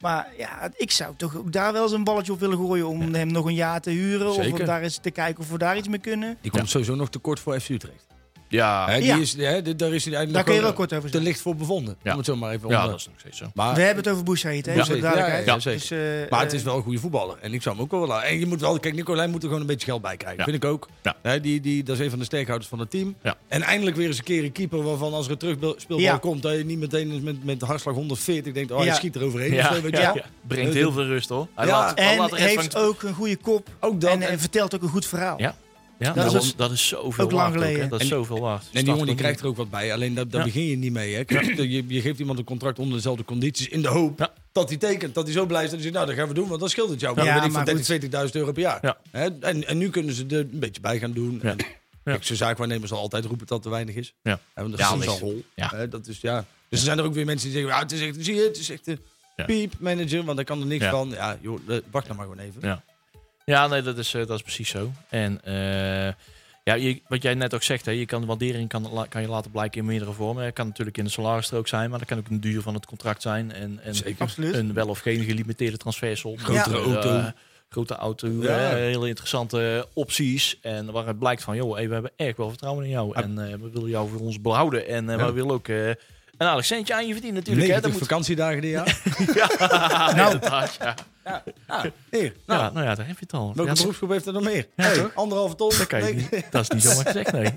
Speaker 4: Maar ja, ik zou toch ook daar wel eens een balletje op willen gooien om hem nog een jaar te huren. Of
Speaker 2: Zeker.
Speaker 4: om daar eens te kijken of we daar iets mee kunnen.
Speaker 3: Die komt sowieso nog tekort voor FC Utrecht.
Speaker 2: Ah, Ja,
Speaker 3: Hè, die
Speaker 4: Ja.
Speaker 3: is, hè, d- daar is hij eigenlijk
Speaker 4: Daar
Speaker 3: nog
Speaker 4: kun je wel
Speaker 3: gewoon
Speaker 4: kort over
Speaker 3: te
Speaker 4: zeggen.
Speaker 3: licht voor bevonden.
Speaker 2: Ja.
Speaker 3: Om het zo maar even
Speaker 2: ja,
Speaker 3: onder-
Speaker 2: dat is nog steeds zo.
Speaker 3: Maar,
Speaker 4: We hebben het over Boussaïd, hè?
Speaker 3: Ja,
Speaker 4: voor de
Speaker 3: ja, ja,
Speaker 4: duidelijkheid.
Speaker 3: ja,
Speaker 4: Dus, eh,
Speaker 3: maar het is
Speaker 4: eh,
Speaker 3: wel een goede voetballer. En ik zou hem ook wel willen. En je moet wel... Kijk, Nicolai moet er gewoon een beetje geld bij krijgen.
Speaker 2: Ja.
Speaker 3: Vind ik ook.
Speaker 2: Ja.
Speaker 3: Hè, die, die, dat is een van de sterkhouders van het team.
Speaker 2: Ja.
Speaker 3: En eindelijk weer eens een keer een keeper waarvan als er een terugspeelbal
Speaker 4: Ja.
Speaker 3: komt... dat je niet meteen eens met, met de hartslag 140 denkt... oh,
Speaker 4: Ja.
Speaker 3: hij schiet er overheen.
Speaker 2: Ja,
Speaker 3: of zo, weet je
Speaker 2: ja,
Speaker 3: wel.
Speaker 2: ja. Brengt heel veel rust hoor. Hij
Speaker 3: Ja.
Speaker 2: laat, hij laat
Speaker 4: eh, En
Speaker 2: de rest
Speaker 4: heeft
Speaker 2: van-
Speaker 4: ook een goede kop.
Speaker 3: Ook dat.
Speaker 4: en,
Speaker 3: En-
Speaker 4: en vertelt ook een goed verhaal.
Speaker 2: Ja. Ja,
Speaker 4: Dat
Speaker 2: dat,
Speaker 4: is dus
Speaker 2: is, dat is zoveel
Speaker 4: ook lang
Speaker 2: waard hè.
Speaker 4: geleden.
Speaker 2: Dat is
Speaker 3: En-
Speaker 2: zoveel waard.
Speaker 3: En
Speaker 2: Start
Speaker 3: die jongen die
Speaker 2: opnieuw.
Speaker 3: krijgt er ook wat bij. Alleen daar, daar
Speaker 2: Ja.
Speaker 3: begin je niet mee. Hè? Je, je geeft iemand een contract onder dezelfde condities. In de hoop
Speaker 2: Ja.
Speaker 3: dat hij tekent. Dat hij zo blij is. Dat hij zegt, nou dat gaan we doen. Want dat scheelt het jou.
Speaker 4: Ja,
Speaker 3: Ja, maar
Speaker 4: maar
Speaker 3: ik
Speaker 4: goed.
Speaker 3: van 30.000, 40.000 euro per jaar.
Speaker 2: Ja.
Speaker 3: Hè? En, en nu kunnen ze er een beetje bij gaan doen.
Speaker 2: Ja.
Speaker 3: En,
Speaker 2: Ja.
Speaker 3: Kijk, zijn zaakwaarnemer zal altijd roepen dat er weinig is.
Speaker 2: Ja.
Speaker 3: Hè, want dat
Speaker 2: Ja,
Speaker 3: is
Speaker 2: dat
Speaker 3: zijn
Speaker 2: is-
Speaker 3: rol.
Speaker 2: ja.
Speaker 3: Hè, Dat is, ja. Dus er zijn er ook weer mensen die zeggen, ja, het is echt, zie je, het is echt een
Speaker 2: Ja.
Speaker 3: piepmanager. Want daar kan er niks
Speaker 2: Ja.
Speaker 3: van. Ja, joh, eh, wacht nou maar gewoon even.
Speaker 2: Ja. Ja, nee, dat is, eh, dat is precies zo. En eh, ja, je- wat jij net ook zegt, hè, je kan de waardering kan, la- kan je laten blijken in meerdere vormen. Het kan natuurlijk in de salarisstrook zijn, maar dat kan ook een duur van het contract zijn. En, en
Speaker 3: Zeker.
Speaker 4: Absoluut.
Speaker 2: een wel of geen gelimiteerde transfersom.
Speaker 3: Grotere
Speaker 2: Eh,
Speaker 3: auto.
Speaker 2: grote auto,
Speaker 3: Ja.
Speaker 2: eh, hele interessante opties. En waaruit blijkt van, joh, hey, we hebben erg wel vertrouwen in jou. En eh, we willen jou voor ons behouden. En eh,
Speaker 3: Ja.
Speaker 2: we willen ook eh, een aardig centje aan je verdienen natuurlijk. Hè? Dat
Speaker 3: 90
Speaker 2: moet...
Speaker 3: vakantiedagen dit jaar.
Speaker 2: Ja,
Speaker 4: Nou,
Speaker 2: inderdaad, ja.
Speaker 3: Ah, hier. Nou,
Speaker 2: Ja, nou ja, daar heb je het al.
Speaker 3: welke
Speaker 2: Ja, dat-
Speaker 3: beroepsgroep heeft er nog meer?
Speaker 2: Ja,
Speaker 3: Hey,
Speaker 2: toch?
Speaker 3: anderhalve ton.
Speaker 2: dat, kan je
Speaker 3: Nee.
Speaker 2: niet. dat is niet zomaar gezegd, nee.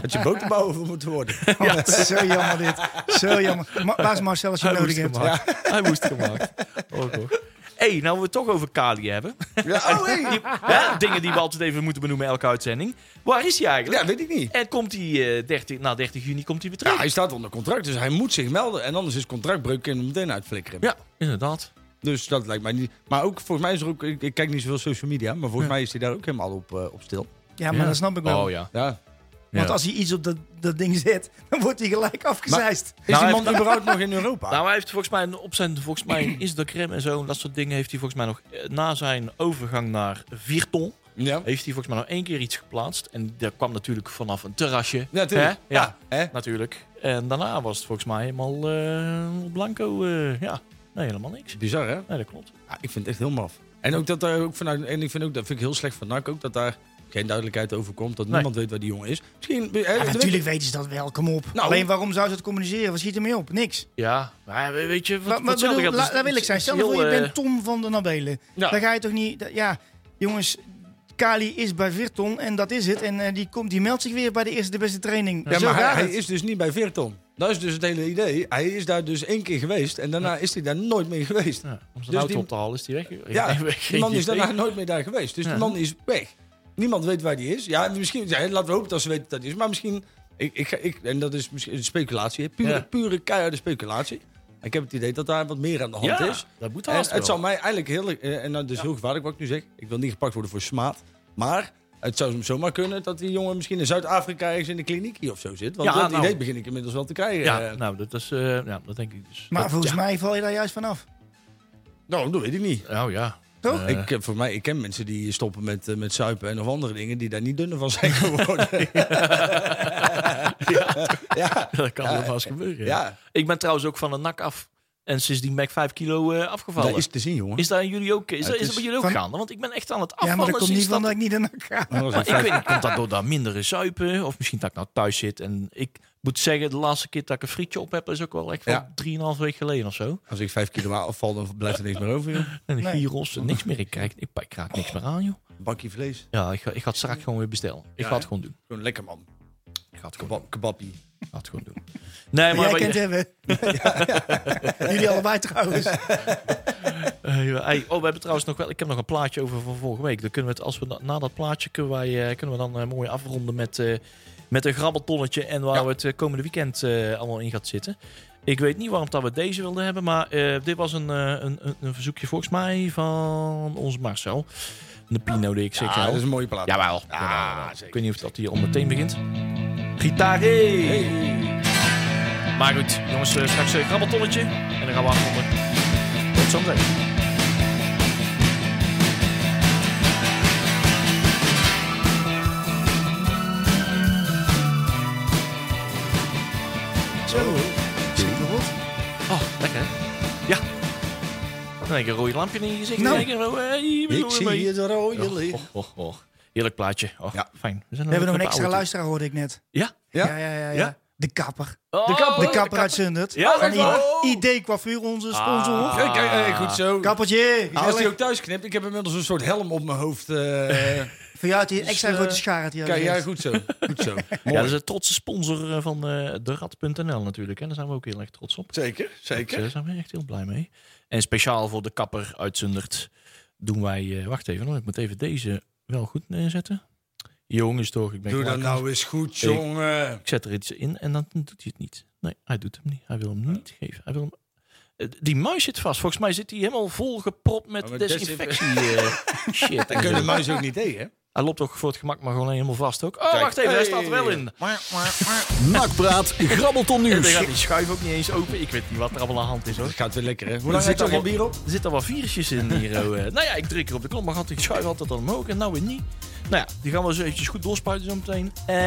Speaker 3: Dat je boterbouwer voor moet worden.
Speaker 4: Oh, dat is zo jammer dit. Zo jammer. Ma- waar is Marcel als je hem nodig hebt?
Speaker 2: gemaakt. Hij moest gemaakt. Oh, toch. hey, nou we het toch over Kali hebben.
Speaker 3: <laughs> Ja, oh, hey.
Speaker 2: Hè? Dingen die we altijd even moeten benoemen elke uitzending. Waar is hij eigenlijk?
Speaker 3: ja, weet ik niet.
Speaker 2: En komt hij eh, 30, na 30 juni komt hij weer
Speaker 3: Ja,
Speaker 2: terug?
Speaker 3: hij staat onder contract, dus hij moet zich melden. En anders is contractbreuk kunnen hem meteen uitflikkeren.
Speaker 2: Ja, inderdaad.
Speaker 3: Dus dat lijkt mij niet. Maar ook volgens mij is er ook. Ik, ik kijk niet zoveel social media, maar volgens mij is hij daar ook helemaal op, eh, op stil.
Speaker 4: Ja, maar dat snap ik wel.
Speaker 2: Oh ja.
Speaker 3: Ja. Nou,
Speaker 4: Want
Speaker 2: Ja.
Speaker 4: als hij iets op dat, dat ding zet, dan wordt hij gelijk afgezeist.
Speaker 3: Is
Speaker 2: hij
Speaker 3: die man überhaupt nog in <laughs> Europa?
Speaker 2: Nou, hij heeft volgens mij een- op zijn volgens mij een Instagram en zo en dat soort dingen heeft hij volgens mij nog eh, na zijn overgang naar Virton
Speaker 3: ja.
Speaker 2: heeft hij volgens mij nog één keer iets geplaatst en dat kwam natuurlijk vanaf een terrasje.
Speaker 3: Ja, tuurlijk.
Speaker 2: Hè? Ja,
Speaker 3: hè?
Speaker 2: natuurlijk. En daarna was het volgens mij helemaal eh, blanco. eh, ja, nee, helemaal niks.
Speaker 3: Bizar, hè?
Speaker 2: Nee, dat klopt.
Speaker 3: Ja, ik vind het echt heel maf. En ook dat daar ook vanuit. En ik vind ook dat vind ik heel slecht van NAC ook dat daar geen duidelijkheid over komt. Dat
Speaker 2: Nee.
Speaker 3: niemand weet waar die jongen is. Misschien. hè,
Speaker 4: Ja,
Speaker 3: dat
Speaker 4: natuurlijk weten ze dat wel, kom op.
Speaker 3: Nou.
Speaker 4: Alleen waarom zou ze het communiceren? Wat schiet er mee op? Niks.
Speaker 2: Ja, maar we- weet je, wat,
Speaker 4: Wat,
Speaker 2: wat
Speaker 4: wat bedoel,
Speaker 2: hetzelfde
Speaker 4: la-
Speaker 2: gaat,
Speaker 4: laat wil
Speaker 2: het-
Speaker 4: ik zijn.
Speaker 2: het is
Speaker 4: Stel voor, je
Speaker 2: heel, eh,
Speaker 4: bent Tom van de Nabelen.
Speaker 3: Ja.
Speaker 4: Dan ga je toch niet... dat- ja, jongens, Kali is bij Virton en dat is het. En eh, die, komt, die meldt zich weer bij de eerste de beste training.
Speaker 3: Ja,
Speaker 4: Zo
Speaker 3: maar hij,
Speaker 4: gaat
Speaker 3: hij
Speaker 4: het.
Speaker 3: is dus niet bij Virton. Dat is dus het hele idee. Hij is daar dus één keer geweest en daarna is hij daar nooit meer geweest.
Speaker 2: ja, om zijn
Speaker 3: Dus
Speaker 2: auto
Speaker 3: die-
Speaker 2: op te halen is die weg. Ik <laughs>
Speaker 3: Ja,
Speaker 2: heb geen
Speaker 3: die man is
Speaker 2: idee.
Speaker 3: daarna nooit meer daar geweest. Dus
Speaker 2: Ja.
Speaker 3: die man is weg. Niemand weet waar die is. Ja, misschien, ja, laten we hopen dat ze weten dat hij is. Maar misschien, ik, ik, ga- ik, en dat is misschien speculatie, hè. pure,
Speaker 2: Ja.
Speaker 3: pure keiharde speculatie. Ik heb het idee dat daar wat meer aan de hand
Speaker 2: Ja,
Speaker 3: is.
Speaker 2: dat moet
Speaker 3: En
Speaker 2: haast
Speaker 3: het
Speaker 2: wel.
Speaker 3: zou mij eigenlijk heel... eh, En dat is heel gevaarlijk wat ik nu zeg. Ik wil niet gepakt worden voor smaad. Maar het zou zomaar kunnen dat die jongen misschien in Zuid-Afrika ergens in de kliniek hier of zo zit. Want
Speaker 2: Ja,
Speaker 3: dat
Speaker 2: nou.
Speaker 3: idee begin ik inmiddels wel te krijgen.
Speaker 2: Ja,
Speaker 3: Eh,
Speaker 2: nou, dat, is, eh, ja, dat denk ik dus.
Speaker 4: Maar
Speaker 2: Dat-
Speaker 4: volgens
Speaker 2: ja.
Speaker 4: mij val je daar juist vanaf.
Speaker 3: Nou, dat weet ik niet.
Speaker 2: Oh ja.
Speaker 4: Toch?
Speaker 2: Eh,
Speaker 3: Ik, eh, voor mij, ik ken mensen die stoppen met, eh, met suipen en of andere dingen die daar niet dunner van zijn <laughs> geworden. ja,
Speaker 2: <laughs> dat kan
Speaker 3: Ja,
Speaker 2: wel eens gebeuren. ja.
Speaker 3: ja.
Speaker 2: Ik ben trouwens ook van een nak af. En sindsdien ben ik 5 kilo eh, afgevallen.
Speaker 3: dat is te zien, jongen.
Speaker 2: Is dat in jullie ook? Is,
Speaker 3: Ja,
Speaker 2: dat, is
Speaker 3: het
Speaker 2: dat
Speaker 3: is
Speaker 2: bij jullie ook
Speaker 4: van-
Speaker 2: gaande? Want ik ben echt aan het
Speaker 4: ja,
Speaker 2: afvallen.
Speaker 4: maar dat komt
Speaker 2: sinds
Speaker 4: niet van dat
Speaker 2: dat-
Speaker 4: ik niet in elkaar ga.
Speaker 3: Dat is
Speaker 2: Nou, Ik weet niet, komt dat door dat mindere zuipen? Of misschien dat ik nou thuis zit. En ik moet zeggen, de laatste keer dat ik een frietje op heb... is ook wel echt
Speaker 3: Ja.
Speaker 2: wel 3,5 weken geleden of zo.
Speaker 3: Als ik vijf kilo afval, dan blijft er niks meer over, joh.
Speaker 2: En de
Speaker 4: Nee.
Speaker 2: gyros, en niks meer. Ik, krijg, ik, ik raak niks meer aan, joh.
Speaker 3: Een bakje vlees.
Speaker 2: Ja, ik ga, ik ga het straks gewoon weer bestellen. Ik ga het gewoon doen.
Speaker 3: Gewoon lekker, man.
Speaker 2: Ik ga het gewoon,
Speaker 3: Kebab, kebappie.
Speaker 2: ik ga het gewoon doen. Nee, maar...
Speaker 4: Jij
Speaker 2: wat-
Speaker 4: kent hebben. Jullie allebei trouwens.
Speaker 2: Eh, ja, hey, oh, we hebben trouwens nog wel. Ik heb nog een plaatje over van vorige week. Dan kunnen we het, als we na, na dat plaatje kunnen, wij, eh, kunnen we dan eh, mooi afronden met, eh, met een grabbeltonnetje. En waar we het eh, komende weekend eh, allemaal in gaat zitten. Ik weet niet waarom dat we deze wilden hebben. Maar eh, dit was een, eh, een, een, een verzoekje volgens mij van onze Marcel. De Pino die ik zeg.
Speaker 3: Ja, dat is een mooie plaat.
Speaker 2: Jawel. Jawel. Ik weet niet of dat hier al meteen begint. Gitare! Maar goed, jongens, eh, straks een grabbeltonnetje. En dan gaan we afronden. Tot zometeen.
Speaker 4: Zo.
Speaker 2: Oh, lekker. hè? Ja. Dan Nou, heb je een rode lampje in je gezicht.
Speaker 4: Nou.
Speaker 2: Nou. hey, we doen
Speaker 3: Ik zie
Speaker 2: mee. Oh,
Speaker 3: het rode
Speaker 2: Och,
Speaker 3: licht.
Speaker 2: och, och, och. Heerlijk plaatje. Och,
Speaker 3: Ja.
Speaker 2: fijn. We, zijn
Speaker 4: We hebben nog een
Speaker 2: knappe
Speaker 4: extra
Speaker 2: auto.
Speaker 4: luisteraar, hoorde ik net.
Speaker 2: Ja?
Speaker 3: Ja?
Speaker 4: Ja, ja, ja. ja.
Speaker 2: Ja?
Speaker 4: De kapper.
Speaker 2: Oh,
Speaker 4: de kapper uit Zundert.
Speaker 2: Ja,
Speaker 4: Van
Speaker 2: dat is
Speaker 4: ID Coiffure, onze sponsor.
Speaker 2: Ah.
Speaker 3: Kijk, kijk, eh, goed zo.
Speaker 4: Kappertje.
Speaker 3: Als hij
Speaker 4: gezellig.
Speaker 3: ook thuis knipt, ik heb inmiddels een soort helm op mijn
Speaker 2: <laughs>
Speaker 3: hoofd. eh,
Speaker 4: Voor jou had hij een extra
Speaker 2: eh,
Speaker 4: grote schaar. had hij al
Speaker 3: kijk, ja,
Speaker 4: gezegd.
Speaker 3: goed zo. Goed zo.
Speaker 2: <laughs> Ja, dat is een trotse sponsor eh, van eh derad.nl natuurlijk. En daar zijn we ook heel erg trots op.
Speaker 3: Zeker,
Speaker 2: Dus, eh, Daar zijn we echt heel blij mee. En speciaal voor de kapper uit Zundert doen wij... eh, wacht even, hoor. ik moet even deze wel goed eh, neerzetten. Jongens toch, ik ben
Speaker 3: Doe dat
Speaker 2: gelijk.
Speaker 3: nou eens goed,
Speaker 2: Ik-
Speaker 3: jongen.
Speaker 2: Ik zet er iets in en dan doet hij het niet. Nee, hij doet hem niet. Hij wil hem niet geven. Hij wil hem... Eh, Die muis zit vast. Volgens mij zit hij helemaal volgepropt met
Speaker 3: Oh, met
Speaker 2: desinfectie. eh, shit.
Speaker 3: Daar kunnen de muis ook niet
Speaker 2: <laughs>
Speaker 3: tegen, hè?
Speaker 2: Hij loopt ook voor het gemak, maar gewoon helemaal vast ook. Oh, wacht even, hij staat er wel in.
Speaker 1: Nakpraat, grabbelton
Speaker 2: En dan
Speaker 1: nieuws.
Speaker 2: gaat die schuif ook niet eens open. Ik weet niet wat er allemaal aan de hand is hoor.
Speaker 3: Dat gaat weer lekker, hè? Hoe
Speaker 2: Er
Speaker 3: lang
Speaker 2: zit
Speaker 3: heb je al
Speaker 2: allemaal-
Speaker 3: bier op?
Speaker 2: Er zitten al wat virusjes in hier. oh, eh. nou ja, ik druk er op de knop, maar gaat die schuif altijd dan omhoog en nou weer niet. Nou ja, die gaan we eens eventjes goed doorspuiten zo meteen. Eh,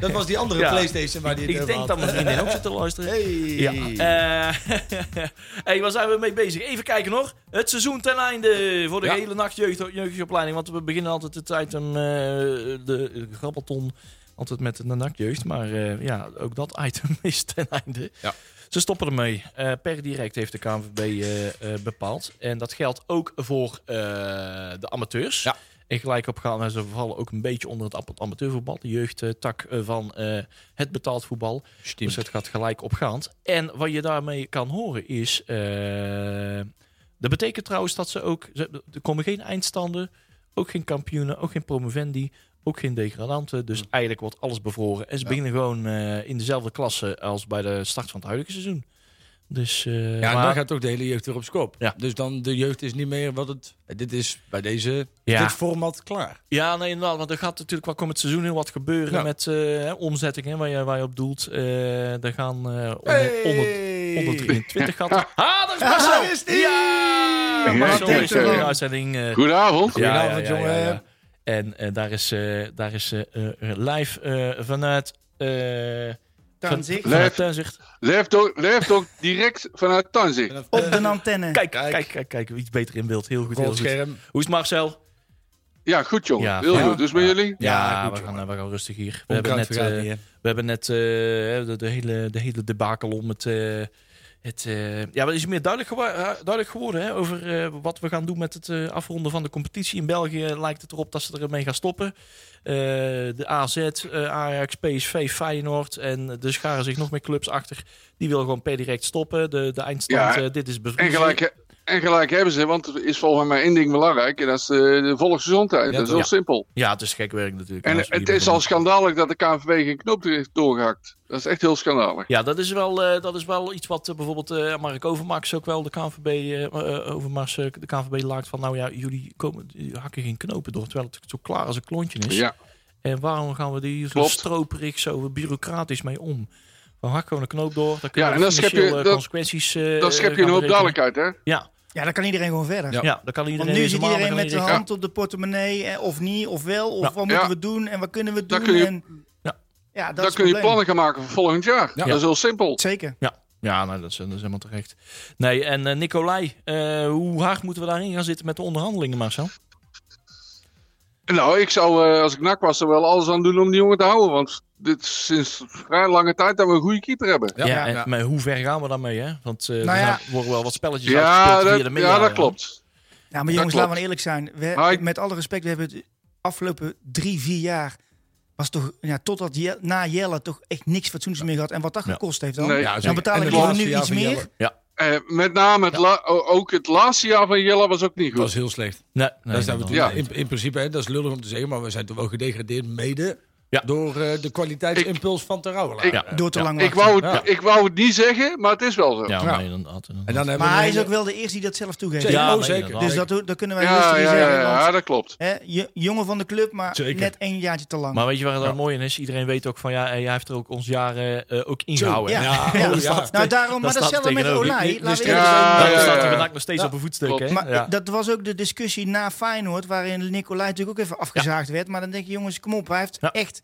Speaker 3: Dat was die andere
Speaker 2: Ja.
Speaker 3: PlayStation waar die
Speaker 2: <laughs>
Speaker 3: het
Speaker 2: ik
Speaker 3: over
Speaker 2: denk
Speaker 3: had.
Speaker 2: dat mijn vriendin ook zit te luisteren.
Speaker 3: Hey.
Speaker 2: Ja. Eh, <laughs> hey, waar zijn we mee bezig? Even kijken hoor. Het seizoen ten einde voor de
Speaker 3: Ja.
Speaker 2: hele nacht jeugd, jeugdopleiding. Want we beginnen altijd het item, eh, de grappelton, altijd met de nachtjeugd. Maar eh, ja, ook dat <laughs> item is ten einde.
Speaker 3: Ja.
Speaker 2: Ze stoppen ermee. Eh, per direct heeft de KNVB eh, eh, bepaald. En dat geldt ook voor eh, de amateurs.
Speaker 3: Ja.
Speaker 2: En gelijk opgaan, en ze vallen ook een beetje onder het am- amateurvoetbal. De jeugdtak eh, van eh, het betaald voetbal. Dus het gaat gelijk opgaand. En wat je daarmee kan horen is... eh, Dat betekent trouwens dat ze ook... ze- Er komen geen eindstanden, ook geen kampioenen, ook geen promovendi, ook geen degradanten. Dus eigenlijk wordt alles bevroren. En ze beginnen gewoon eh, in dezelfde klasse als bij de start van het huidige seizoen. Dus, eh,
Speaker 3: Ja, en
Speaker 2: maar-
Speaker 3: dan gaat ook de hele jeugd weer op zijn kop.
Speaker 2: Ja.
Speaker 3: Dus dan de jeugd is niet meer wat het... Dit is bij deze,
Speaker 2: Ja.
Speaker 3: dit format klaar.
Speaker 2: Ja, nee, inderdaad. Want er gaat natuurlijk qua komend seizoen heel wat gebeuren
Speaker 3: Ja.
Speaker 2: met eh, hè, omzettingen waar je, waar je op doelt. Eh er gaan eh onder, onder,
Speaker 3: Hey!
Speaker 2: 123 gaat. Ah, daar is Marcel!
Speaker 3: Daar is die!
Speaker 2: Ja, Marcel
Speaker 4: kijk
Speaker 2: is
Speaker 4: er
Speaker 2: er in de
Speaker 4: dan.
Speaker 2: uitzending. eh,
Speaker 6: Goedenavond.
Speaker 3: Goedenavond, jongen.
Speaker 2: En eh, daar is, eh, daar is eh, eh, live eh, vanuit... eh
Speaker 4: Danzig.
Speaker 2: van- vanuit Tuinzicht.
Speaker 6: Leeft ook, leeft ook direct vanuit Tanzig.
Speaker 4: Op de antenne.
Speaker 2: Kijk, kijk, kijk, kijk, Iets beter in beeld. Heel goed, heel
Speaker 3: Groot
Speaker 2: goed.
Speaker 3: scherm.
Speaker 2: Hoe is het, Marcel?
Speaker 6: Ja, goed jongen.
Speaker 2: Ja.
Speaker 6: Heel
Speaker 2: Ja.
Speaker 6: goed. Dus met jullie?
Speaker 3: Ja,
Speaker 2: we,
Speaker 3: goed, jongen.
Speaker 2: gaan, eh, we gaan rustig hier. We hebben
Speaker 3: Onkruid
Speaker 2: net...
Speaker 3: vergaat
Speaker 2: eh,
Speaker 3: niet, hè?
Speaker 2: We hebben net eh, de, de hele, de hele debakel om het. eh, het eh, ja, maar het is meer duidelijk, gewa- eh, duidelijk geworden hè, over eh, wat we gaan doen met het eh, afronden van de competitie. In België lijkt het erop dat ze ermee gaan stoppen. Eh, de AZ, eh, Ajax, PSV, Feyenoord en er scharen zich nog meer clubs achter. Die willen gewoon per direct stoppen. De, de eindstand,
Speaker 6: Ja,
Speaker 2: eh, dit is bevriezen.
Speaker 6: En gelijk, he- en gelijk hebben ze, want er is volgens mij één ding belangrijk. En dat is eh, de volksgezondheid.
Speaker 3: Ja,
Speaker 6: dat is
Speaker 3: toch?
Speaker 6: heel simpel.
Speaker 2: Ja, het is gek werk natuurlijk.
Speaker 6: En
Speaker 2: Als we
Speaker 6: het
Speaker 2: hier
Speaker 6: is al
Speaker 2: beginnen.
Speaker 6: schandalig dat de KNVB geen knoop heeft doorgehakt. Dat is echt heel schandalig.
Speaker 2: Ja, dat is wel, eh, dat is wel iets wat eh, bijvoorbeeld eh Mark Overmars ook wel de KNVB, eh, eh, Overmars, eh, de KNVB laakt van nou ja, jullie, komen, jullie hakken geen knopen door, terwijl het zo klaar als een klontje is.
Speaker 6: Ja,
Speaker 4: Eh,
Speaker 2: En waarom gaan we die zo
Speaker 6: Klopt.
Speaker 2: stroperig, zo bureaucratisch mee om? Van hak gewoon een knoop door, dan kun
Speaker 6: Ja,
Speaker 2: je
Speaker 6: en dan schep je-
Speaker 2: financieel, eh,
Speaker 6: dat-
Speaker 2: consequenties... eh,
Speaker 6: dan schep je
Speaker 2: gaan
Speaker 6: een hoop
Speaker 2: berekenen.
Speaker 6: duidelijkheid, hè?
Speaker 2: Ja,
Speaker 4: Ja, dan kan iedereen gewoon verder.
Speaker 3: Ja.
Speaker 2: ja, dan kan iedereen...
Speaker 4: Want nu
Speaker 2: deze
Speaker 4: zit
Speaker 2: maandag
Speaker 4: iedereen
Speaker 2: kan
Speaker 4: met de
Speaker 2: iedereen-
Speaker 4: hand op de portemonnee, eh, of niet, of wel, of
Speaker 2: Ja.
Speaker 4: wat moeten
Speaker 6: Ja.
Speaker 4: we doen en wat kunnen we
Speaker 6: Dan
Speaker 4: doen.
Speaker 6: kun je-
Speaker 4: en,
Speaker 2: Ja.
Speaker 4: ja, dat
Speaker 6: Dan
Speaker 4: is
Speaker 6: kun je
Speaker 4: het probleem.
Speaker 6: plannen gaan maken voor volgend jaar.
Speaker 3: Ja.
Speaker 6: Dat is heel simpel.
Speaker 4: Zeker.
Speaker 2: Ja, ja nou, dat, is, dat is helemaal terecht. Nee, en eh, Nicolai, eh, hoe hard moeten we daarin gaan zitten met de onderhandelingen, Marcel?
Speaker 6: Nou, ik zou, eh, als ik nak was, er wel alles aan doen om die jongen te houden. Want dit is sinds vrij lange tijd dat we een goede keeper hebben.
Speaker 2: Ja,
Speaker 3: ja,
Speaker 2: en
Speaker 3: ja.
Speaker 2: Maar hoe ver gaan we daarmee, hè? Want eh,
Speaker 4: Nou
Speaker 2: er
Speaker 4: ja.
Speaker 2: zijn- worden wel wat spelletjes
Speaker 6: Ja,
Speaker 2: uitgespeeld
Speaker 6: dat,
Speaker 2: via de media.
Speaker 6: ja, dat klopt.
Speaker 4: Ja, maar jongens,
Speaker 6: klopt.
Speaker 4: laten we eerlijk zijn. We,
Speaker 6: Maar ik-
Speaker 4: Met alle respect, we hebben het afgelopen drie, vier jaar... was toch, ja, totdat Je- na Jelle toch echt niks fatsoenlijks meer gehad. En wat dat
Speaker 2: Ja.
Speaker 4: gekost heeft dan.
Speaker 6: Nee.
Speaker 3: Ja,
Speaker 4: Dan
Speaker 3: zeker. En
Speaker 4: betalen
Speaker 3: het
Speaker 4: jullie
Speaker 6: laatste
Speaker 4: nu
Speaker 3: jaar
Speaker 4: iets
Speaker 3: van
Speaker 4: meer.
Speaker 3: Jelle.
Speaker 6: Eh, met name het la- o- ook het laatste jaar van Jelle was ook niet
Speaker 3: Dat was
Speaker 6: goed.
Speaker 3: heel slecht.
Speaker 2: Nee, nee,
Speaker 3: Daar zijn we toen,
Speaker 6: Ja.
Speaker 3: in, in principe, hè, dat is lullig om te zeggen, maar we zijn toch wel gedegradeerd mede
Speaker 2: Ja.
Speaker 3: door eh, de kwaliteitsimpuls van Terouwelaar.
Speaker 6: ik-
Speaker 2: Ja.
Speaker 4: Door te lang
Speaker 6: Ik
Speaker 4: wachten.
Speaker 6: wou, het,
Speaker 3: Ja.
Speaker 6: ik wou het niet zeggen, maar het is wel zo.
Speaker 2: Ja,
Speaker 3: Ja.
Speaker 2: nee, inderdaad.
Speaker 3: En
Speaker 2: inderdaad.
Speaker 3: dan hebben
Speaker 4: Maar
Speaker 3: we
Speaker 4: hij is
Speaker 3: een-
Speaker 4: ook wel de eerste die dat zelf toegeeft.
Speaker 3: Zeker.
Speaker 2: Ja,
Speaker 3: oh,
Speaker 2: nee,
Speaker 3: zeker.
Speaker 2: inderdaad.
Speaker 4: Dus dat, dat kunnen wij rustig
Speaker 6: Ja,
Speaker 4: niet
Speaker 6: ja, ja,
Speaker 4: zeggen.
Speaker 6: ja,
Speaker 4: want,
Speaker 6: dat klopt.
Speaker 4: hè, je- jongen van de club, maar
Speaker 3: Zeker.
Speaker 4: net één jaartje te lang.
Speaker 2: Maar weet je waar het dan mooi in is? Iedereen weet ook van ja, eh, jij heeft er ook ons jaren eh, ook
Speaker 4: Zo,
Speaker 2: ingehouden.
Speaker 4: ja.
Speaker 2: hè?
Speaker 4: Ja.
Speaker 3: Ja,
Speaker 4: Ja.
Speaker 3: oh, ja.
Speaker 4: Nou, daarom, maar
Speaker 2: staat
Speaker 4: dat is hetzelfde met
Speaker 2: tegenover.
Speaker 4: Olij.
Speaker 3: Die- die
Speaker 4: Laten we
Speaker 3: strijd-
Speaker 4: eerlijk zijn.
Speaker 6: Ja,
Speaker 2: Daarom
Speaker 6: ja,
Speaker 2: staat hij
Speaker 6: ja.
Speaker 2: vandaag nog steeds
Speaker 3: Ja.
Speaker 2: op een voetstuk. Hè?
Speaker 4: Maar
Speaker 2: ja.
Speaker 4: dat was ook de discussie na Feyenoord, waarin Nicolai natuurlijk ook even afgezaagd werd. Maar dan denk je, jongens, kom op, hij heeft
Speaker 2: Ja.
Speaker 4: echt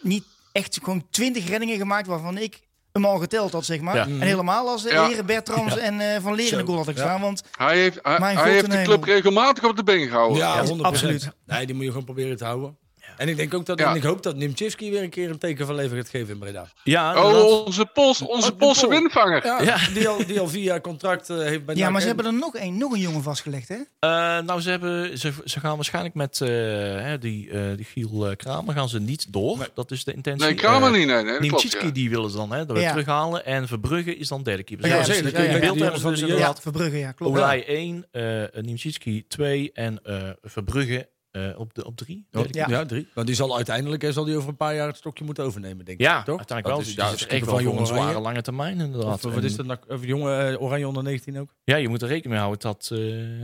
Speaker 4: niet echt gewoon twintig reddingen gemaakt waarvan ik hem al geteld had, zeg maar.
Speaker 2: Ja. Mhm.
Speaker 4: En helemaal als eh,
Speaker 6: Ja.
Speaker 4: heren Bertrams en eh, Van Leren
Speaker 3: Zo.
Speaker 4: de goal had ik
Speaker 3: Ja.
Speaker 4: staan. Want
Speaker 6: Hij heeft, hij,
Speaker 4: Mijn
Speaker 6: hij
Speaker 4: God
Speaker 6: heeft
Speaker 4: in
Speaker 6: de
Speaker 4: hemel.
Speaker 6: club regelmatig op de been gehouden.
Speaker 3: Ja,
Speaker 4: Ja,
Speaker 3: 100%.
Speaker 4: absoluut.
Speaker 3: Nee, die moet je gewoon proberen te houden. En ik denk ook dat,
Speaker 6: Ja.
Speaker 3: en ik hoop dat Nimchivski weer een keer een teken van leven gaat geven in Breda.
Speaker 2: ja,
Speaker 6: Oh,
Speaker 2: inderdaad.
Speaker 6: onze, Pools, onze
Speaker 3: de
Speaker 6: Poolse
Speaker 3: Pool.
Speaker 6: windvanger.
Speaker 3: Ja,
Speaker 2: Ja.
Speaker 3: Die, al, die al vier jaar contract eh, heeft bij
Speaker 4: ja,
Speaker 3: NAC
Speaker 4: maar ze
Speaker 3: en-
Speaker 4: hebben er nog een, nog een jongen vastgelegd, hè?
Speaker 2: Eh, nou, ze, hebben, ze, ze gaan waarschijnlijk met eh, hè, die, eh, die Giel eh, Kramer gaan ze niet door. Dat is de intentie.
Speaker 6: Nee, Kramer
Speaker 2: Eh,
Speaker 6: niet. Nee, nee, dat klopt,
Speaker 2: Nimchitski,
Speaker 6: ja.
Speaker 2: die willen ze dan hè, dat we
Speaker 4: Ja.
Speaker 2: terughalen. En Verbrugge is dan derde keeper.
Speaker 4: Ja,
Speaker 2: Dus
Speaker 4: ja,
Speaker 2: die
Speaker 4: zeker.
Speaker 2: kun je
Speaker 4: Ja,
Speaker 2: in
Speaker 4: ja,
Speaker 2: beeld
Speaker 3: ja.
Speaker 2: hebben ze
Speaker 3: Die
Speaker 2: dus
Speaker 3: van die-
Speaker 4: Ja,
Speaker 2: inderdaad.
Speaker 4: Verbrugge, ja, klopt.
Speaker 2: Olij 1, eh Nimchitski 2 en eh, Verbrugge eh, op 3. Op drie.
Speaker 3: Ja,
Speaker 2: Derde
Speaker 3: Oh, ja. drie. Want die zal uiteindelijk hè, zal die over een paar jaar het stokje moeten overnemen, denk ik.
Speaker 2: Ja,
Speaker 3: toch? Oh,
Speaker 2: uiteindelijk wel.
Speaker 3: Dat is,
Speaker 2: Dus dat is echt wel voor
Speaker 3: van jonge
Speaker 2: een zware
Speaker 3: zware
Speaker 2: lange termijn
Speaker 3: of,
Speaker 2: inderdaad.
Speaker 3: Wat
Speaker 2: En-
Speaker 3: is dat nou? Of jonge eh, Oranje onder 19 ook?
Speaker 2: Ja, je moet er rekening mee houden dat, eh,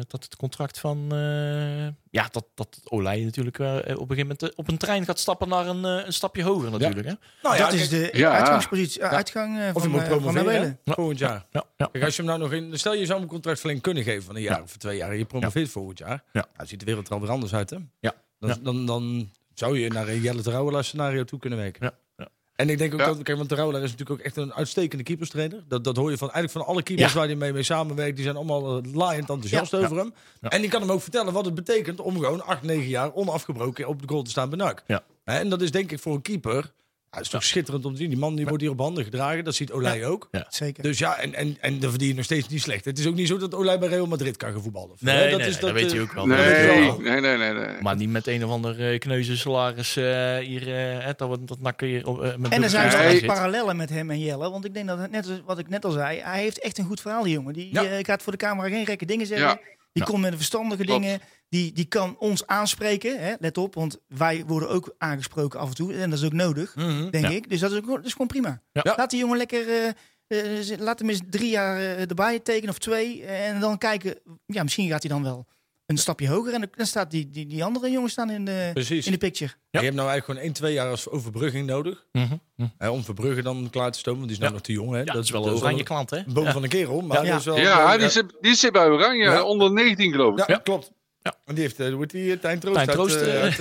Speaker 2: dat het contract van... eh, ja, dat, dat Olij natuurlijk eh, op een gegeven moment eh, op een trein gaat stappen naar een, eh, een stapje hoger natuurlijk. Hè?
Speaker 3: Nou
Speaker 4: dat is de
Speaker 6: Ja.
Speaker 4: uitgangspositie, uitgang eh, van,
Speaker 3: Of je moet
Speaker 4: eh, van
Speaker 3: promoveren
Speaker 4: Nabelen.
Speaker 3: hè, volgend jaar.
Speaker 2: Ja, ja.
Speaker 3: Kijk, als je hem nou nog in, stel je zou hem een contract verlengd kunnen geven van een jaar of twee jaar en je promoveert volgend jaar,
Speaker 2: Ja.
Speaker 3: nou, ziet de wereld er alweer anders uit, hè?
Speaker 2: Ja.
Speaker 3: Dan,
Speaker 2: Ja.
Speaker 3: Dan, dan zou je naar een Jelle Trouwelaar scenario toe kunnen werken.
Speaker 2: Ja. Ja.
Speaker 3: En ik denk ook
Speaker 6: Ja.
Speaker 3: dat, kijk, want Trouwelaar is natuurlijk ook echt een uitstekende keeperstrainer. Dat, dat hoor je van eigenlijk van alle keepers
Speaker 2: Ja.
Speaker 3: waar hij mee, mee samenwerkt, die zijn allemaal eh, laaiend enthousiast over hem.
Speaker 2: Ja.
Speaker 3: En die kan hem ook vertellen wat het betekent om gewoon acht, negen jaar onafgebroken op de goal te staan bij NAC.
Speaker 2: Ja.
Speaker 3: Hè, En dat is denk ik voor een keeper. ja, het is toch schitterend om te zien. Die man die wordt hier op handen gedragen. Dat ziet Olij ook.
Speaker 4: Zeker.
Speaker 3: Dus ja, en, en, en dan verdien je nog steeds niet slecht. Het is ook niet zo dat Olij bij Real Madrid kan gaan voetballen.
Speaker 2: Nee,
Speaker 3: Hè,
Speaker 2: nee, nee,
Speaker 3: is
Speaker 2: dat, weet je
Speaker 3: eh,
Speaker 2: ook wel. Dat weet je
Speaker 6: Nee,
Speaker 2: wel.
Speaker 6: nee, nee, nee. nee.
Speaker 2: Maar niet met een of ander eh, kneuze salaris eh, hier. eh, hè, dat, we- dat nakken hier op, eh, met
Speaker 4: En er zijn
Speaker 6: Nee.
Speaker 4: wel echt
Speaker 2: zit.
Speaker 4: parallellen met hem en Jelle. Want ik denk dat, het net als- wat ik net al zei, hij heeft echt een goed verhaal, die jongen. Die
Speaker 3: Ja.
Speaker 4: eh, gaat voor de camera geen gekke dingen zeggen.
Speaker 6: Ja.
Speaker 4: Die komt met de verstandige
Speaker 6: Klopt.
Speaker 4: dingen. Die, die kan ons aanspreken. Hè? Let op, want wij worden ook aangesproken af en toe. En dat is ook nodig,
Speaker 3: Mhm.
Speaker 4: denk
Speaker 2: Ja.
Speaker 4: ik. Dus dat is, ook, dat is gewoon prima.
Speaker 2: Ja.
Speaker 4: Laat die jongen lekker... eh, eh, z- laat hem eens drie jaar eh, erbij tekenen of twee. En dan kijken, ja, misschien gaat hij dan wel een stapje hoger. En dan- dan staat die, die, die andere jongens staan in de,
Speaker 3: Precies.
Speaker 4: in de picture.
Speaker 3: Je hebt nou eigenlijk gewoon één, twee jaar als overbrugging nodig.
Speaker 2: Mhm, mhm.
Speaker 3: Hè, om Verbrugge dan klaar te stomen. Want die is nou
Speaker 2: Ja.
Speaker 3: nog te jong. Hè?
Speaker 2: Ja, dat is wel een oranje klant, hè?
Speaker 3: een boom van een kerel. Maar
Speaker 4: Ja.
Speaker 3: dat is wel,
Speaker 6: Ja,
Speaker 3: eh,
Speaker 6: die zit, die zit bij Oranje,
Speaker 3: Ja.
Speaker 6: onder 19 geloof ik.
Speaker 3: ja,
Speaker 2: Ja.
Speaker 3: klopt.
Speaker 2: Ja.
Speaker 3: En die heeft, eh, hoe heet die, eh, Tijn Troost.
Speaker 2: Tijn
Speaker 3: uit,
Speaker 2: Troost,
Speaker 3: eh,
Speaker 2: eh.
Speaker 3: uit-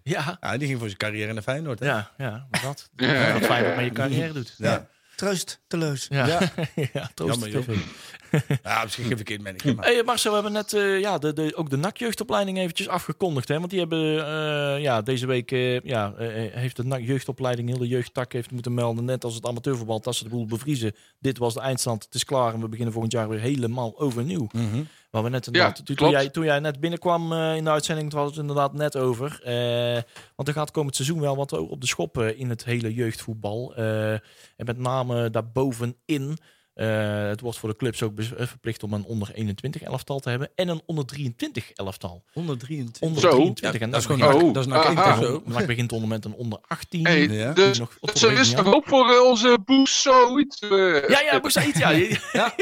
Speaker 2: <laughs> Ja,
Speaker 3: Ja, die ging voor zijn carrière naar Feyenoord. Hè?
Speaker 2: ja, ja. Maar dat.
Speaker 6: Ja, ja,
Speaker 2: Wat fijn dat je met je carrière doet.
Speaker 3: Ja.
Speaker 4: Troosteloos.
Speaker 2: Ja,
Speaker 3: Ja.
Speaker 2: <laughs> ja. troost
Speaker 3: Jammer, joh.
Speaker 2: TV.
Speaker 3: Ja, misschien geen verkeerd mannetje. Maar.
Speaker 2: Hey, Marcel, we hebben net eh, ja, de, de, ook de NAC-jeugdopleiding eventjes afgekondigd. Hè? Want die hebben eh, ja, deze week eh, ja, eh, heeft de NAC-jeugdopleiding, heel de jeugdtak heeft moeten melden. Net als het amateurvoetbal, dat ze de boel bevriezen. Dit was de eindstand, het is klaar en we beginnen volgend jaar weer helemaal overnieuw.
Speaker 3: Mhm.
Speaker 2: Waar we net inderdaad, toen, toen
Speaker 6: klopt.
Speaker 2: jij, toen jij net binnenkwam eh, in de uitzending, toen hadden we het inderdaad net over. Eh, want er gaat komend seizoen wel wat op de schop eh, in het hele jeugdvoetbal. Eh, en met name daarbovenin. Eh, het wordt voor de clubs ook bez- eh, verplicht om een onder 21 elftal te hebben en een onder 23 elftal.
Speaker 3: 123.
Speaker 2: Onder
Speaker 6: Zo.
Speaker 2: 23 en
Speaker 3: Dat is
Speaker 2: dan
Speaker 3: gewoon
Speaker 6: Oh,
Speaker 3: dat is nou
Speaker 6: aha.
Speaker 3: echt zo.
Speaker 2: begint, dan begint onder met een onder 18.
Speaker 6: Hey,
Speaker 3: Ja.
Speaker 6: Dus,
Speaker 2: Nog tot
Speaker 6: dus er
Speaker 2: weet
Speaker 6: is
Speaker 2: niet
Speaker 6: nog hoop voor eh, onze Boes zoiets. eh.
Speaker 2: Ja, ja, Boussaïd, ja. <laughs>
Speaker 3: Ja.